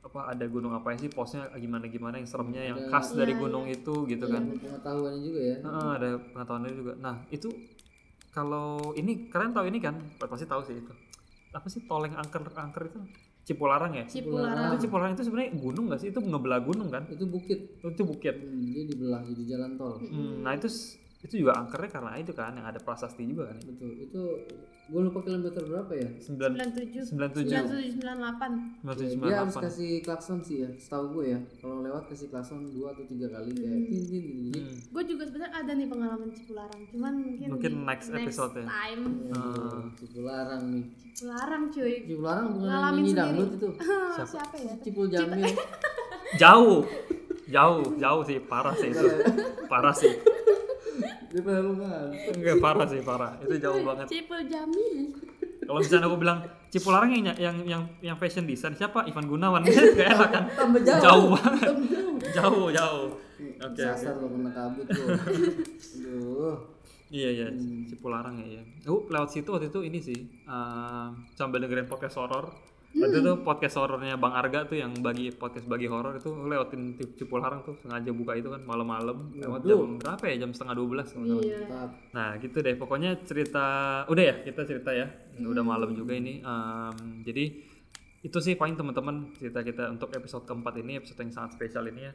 C: apa ada gunung apa sih posnya gimana gimana yang seremnya yang khas dari gunung itu gitu kan.
A: pengetahuan juga ya
C: Heeh, ada pengetahuannya juga. Nah, itu kalau ini kalian tahu ini kan? Pasti tahu sih itu. Apa sih toleng angker-angker itu? Cipularang ya?
B: cipularang
C: Itu Cipularang itu sebenarnya gunung nggak sih? Itu ngebelah gunung kan?
A: itu bukit
C: Itu bukit.
A: hmm, dia dibelah jadi jalan tol
C: Hmm, nah itu s- itu juga angkernya karena itu kan yang ada prasasti juga kan.
A: betul itu gue lupa kilometer berapa ya
C: 9 97
B: 97 97 98
A: dia harus
C: 98.
A: kasih klakson sih ya setahu gue ya kalau lewat kasih klakson dua atau tiga kali kayak tin tin tin tin.
C: Hmm.
B: gue juga sebenarnya ada nih pengalaman cipularang cuman mungkin
C: Mungkin
B: di
C: next episode ya.
B: time
C: Ah.
A: Oh, Cipularang nih
B: cipularang cuy
A: Cipularang bukan yang
B: Ngalamin
A: nyanyi
B: sendiri.
A: dangdut itu
B: siapa, ya
A: Cipul Jamil
C: Jauh. Jauh, jauh sih, parah sih itu. Parah sih.
A: dia pernah lupa
C: Enggak parah sih, parah. Itu jauh banget.
B: cipul jamil
C: Kalau misalnya aku bilang Cipularang yang yang yang yang fashion design siapa? Ivan Gunawan. Gak enak kan?
A: tambah jauh
C: Jauh banget. Jauh, jauh. Oke.
A: dasar lo kena kabut lo aduh
C: Iya iya, Cipularang ya. iya. Aku lewat situ waktu itu ini sih eh, sambil dengerin podcast horor. Waktu itu podcast horornya Bang Arga tuh yang bagi podcast bagi horor itu aku lewatin Cip- Cipularang tuh sengaja buka itu kan malam-malam lewat jam berapa ya? Jam setengah dua belas.
B: Iya.
A: mantap
C: Nah gitu deh, pokoknya cerita udah ya kita cerita ya. Udah malam juga ini. Em, jadi itu sih paling teman-teman cerita kita untuk episode keempat ini episode yang sangat spesial ini ya.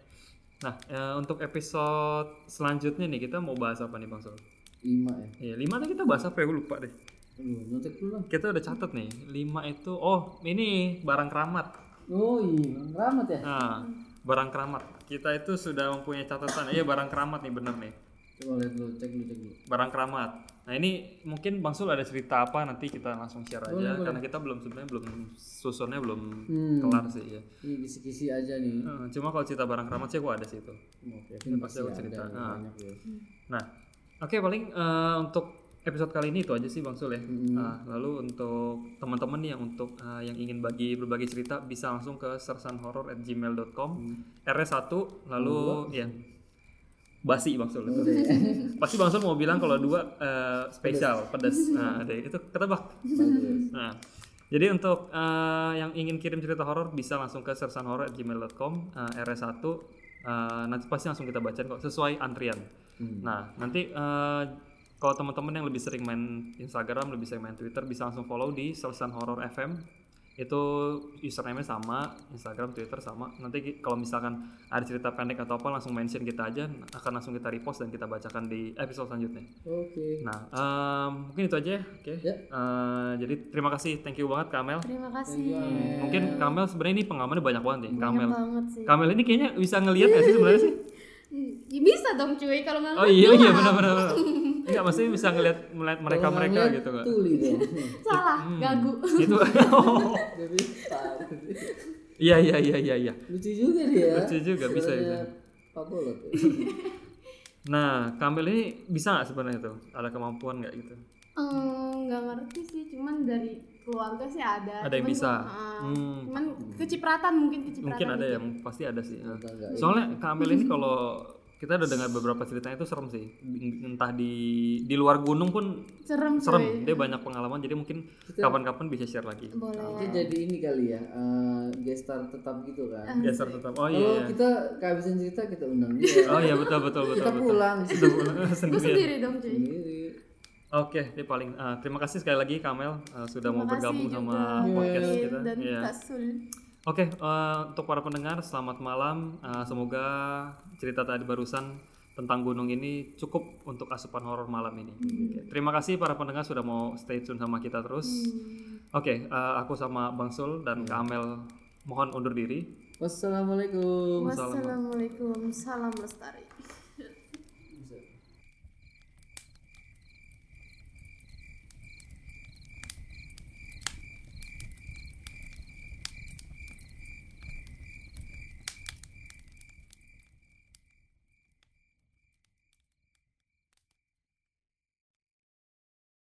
C: Nah eh, untuk episode selanjutnya nih kita mau bahas apa nih bang Sol?
A: lima ya
C: Iya, lima tuh kita bahas apa ya? Gue lupa deh.
A: Aduh, nyontek dulu lah
C: Kita udah catat nih. Lima itu, oh ini barang keramat.
A: oh iya keramat ya
C: Nah, barang keramat. Kita itu sudah mempunyai catatan. Iya, barang keramat nih bener nih.
A: coba lihat dulu cek dulu cek dulu
C: Barang keramat. Nah ini mungkin Bang Sul ada cerita apa nanti kita langsung share aja
A: Boleh, boleh.
C: karena kita belum sebenarnya belum susunnya belum
A: Hmm.
C: kelar sih ya.
A: ini kisi-kisi aja nih
C: Eh, Cuma kalau cerita barang keramat sih gua ada sih itu.
A: Mau Kevin
C: pasti aku cerita.
A: ada
C: Ah.
A: banyak ya.
C: Nah, oke paling eh, untuk episode kali ini itu aja sih Bang Sul ya.
A: Mm-mm.
C: Nah, lalu untuk teman-teman nih yang untuk eh, yang ingin bagi berbagi cerita bisa langsung ke sersanhoror@gmail.com
A: Hmm.
C: R1 lalu ya basi Bang Sul itu. Pasti Bang Sul mau bilang kalau dua eh, spesial pedas. Nah, deh, itu ketebak.
A: Bagus.
C: Nah, jadi untuk eh, yang ingin kirim cerita horor bisa langsung ke sersanhoror@gmail.com eh, RS1 eh, nanti pasti langsung kita bacain kok sesuai antrian.
A: Hmm.
C: Nah, nanti eh, kalau teman-teman yang lebih sering main Instagram, lebih sering main Twitter bisa langsung follow di Sersan Horor FM. Itu username-nya sama, Instagram, Twitter sama. Nanti ki- kalau misalkan ada cerita pendek atau apa langsung mention kita aja, akan langsung kita repost dan kita bacakan di episode selanjutnya.
A: oke
C: Nah, em, mungkin itu aja ya. Oke.
A: Ya.
C: Eh, jadi terima kasih, thank you banget Kamel.
B: Terima kasih.
C: Iya.
A: Thank you, Amel.
C: Mungkin Kamel sebenarnya ini pengalamannya banyak banget nih, Kamel.
B: banget sih.
C: Kamel ini kayaknya bisa ngelihat ya sih sebenarnya sih.
B: Hmm, Ya bisa dong cuy kalau nggak
C: Oh iya iya benar benar. benar. Enggak maksudnya bisa ngelihat melihat mereka
A: Kalau
C: mereka
A: ngeliat,
C: gitu kan.
A: tuli dong
B: salah gagu.
C: Gitu. Oh.
A: Jadi, tar.
C: Iya iya iya iya iya.
A: lucu juga dia
C: Lucu juga, bisa,
A: Suaranya
C: bisa.
A: Pak Bolot ya.
C: Nah, Kamel ini bisa nggak sebenarnya tuh? Ada kemampuan nggak gitu?
B: Eh, nggak ngerti sih cuman dari keluarga sih ada.
C: Ada yang
B: Cuman
C: bisa.
B: gua- ah,
C: Hmm.
B: Cuman kecipratan mungkin kecipratan.
C: Mungkin ada ya,
B: dikit.
C: pasti ada sih.
A: Atau enggak ya.
C: Soalnya Kamel ini kalau kita udah dengar beberapa ceritanya itu serem sih. Entah di di luar gunung pun
B: Serem cuy.
C: serem dia banyak pengalaman jadi mungkin kapan-kapan bisa share lagi
B: Boleh.
A: Itu jadi ini kali ya eh, guest star tetap gitu kan
C: geser tetap oh
A: kalau
C: iya iya.
A: kita kehabisan cerita kita undang dia
C: oh iya betul betul betul
A: gitu. kita
C: betul
A: pulang
C: Udah pulang
B: Gue
C: sendirian.
B: sendiri dong cuy.
A: sendiri
C: oke ini paling eh, terima kasih sekali lagi Kamel eh, sudah mau
B: Terima kasih
C: bergabung
B: juga,
C: sama
B: Kak
C: podcast
B: Kevin
C: kita
B: Dan
C: Iya.
B: Kak Sul.
C: oke eh, untuk para pendengar selamat malam Eh, semoga cerita tadi barusan tentang gunung ini cukup untuk asupan horor malam ini Oke, terima kasih para pendengar sudah mau stay tune sama kita terus oke eh, aku sama Bang Sul dan Kamel mohon undur diri
A: wassalamualaikum
B: Wassalamualaikum. Salam lestari.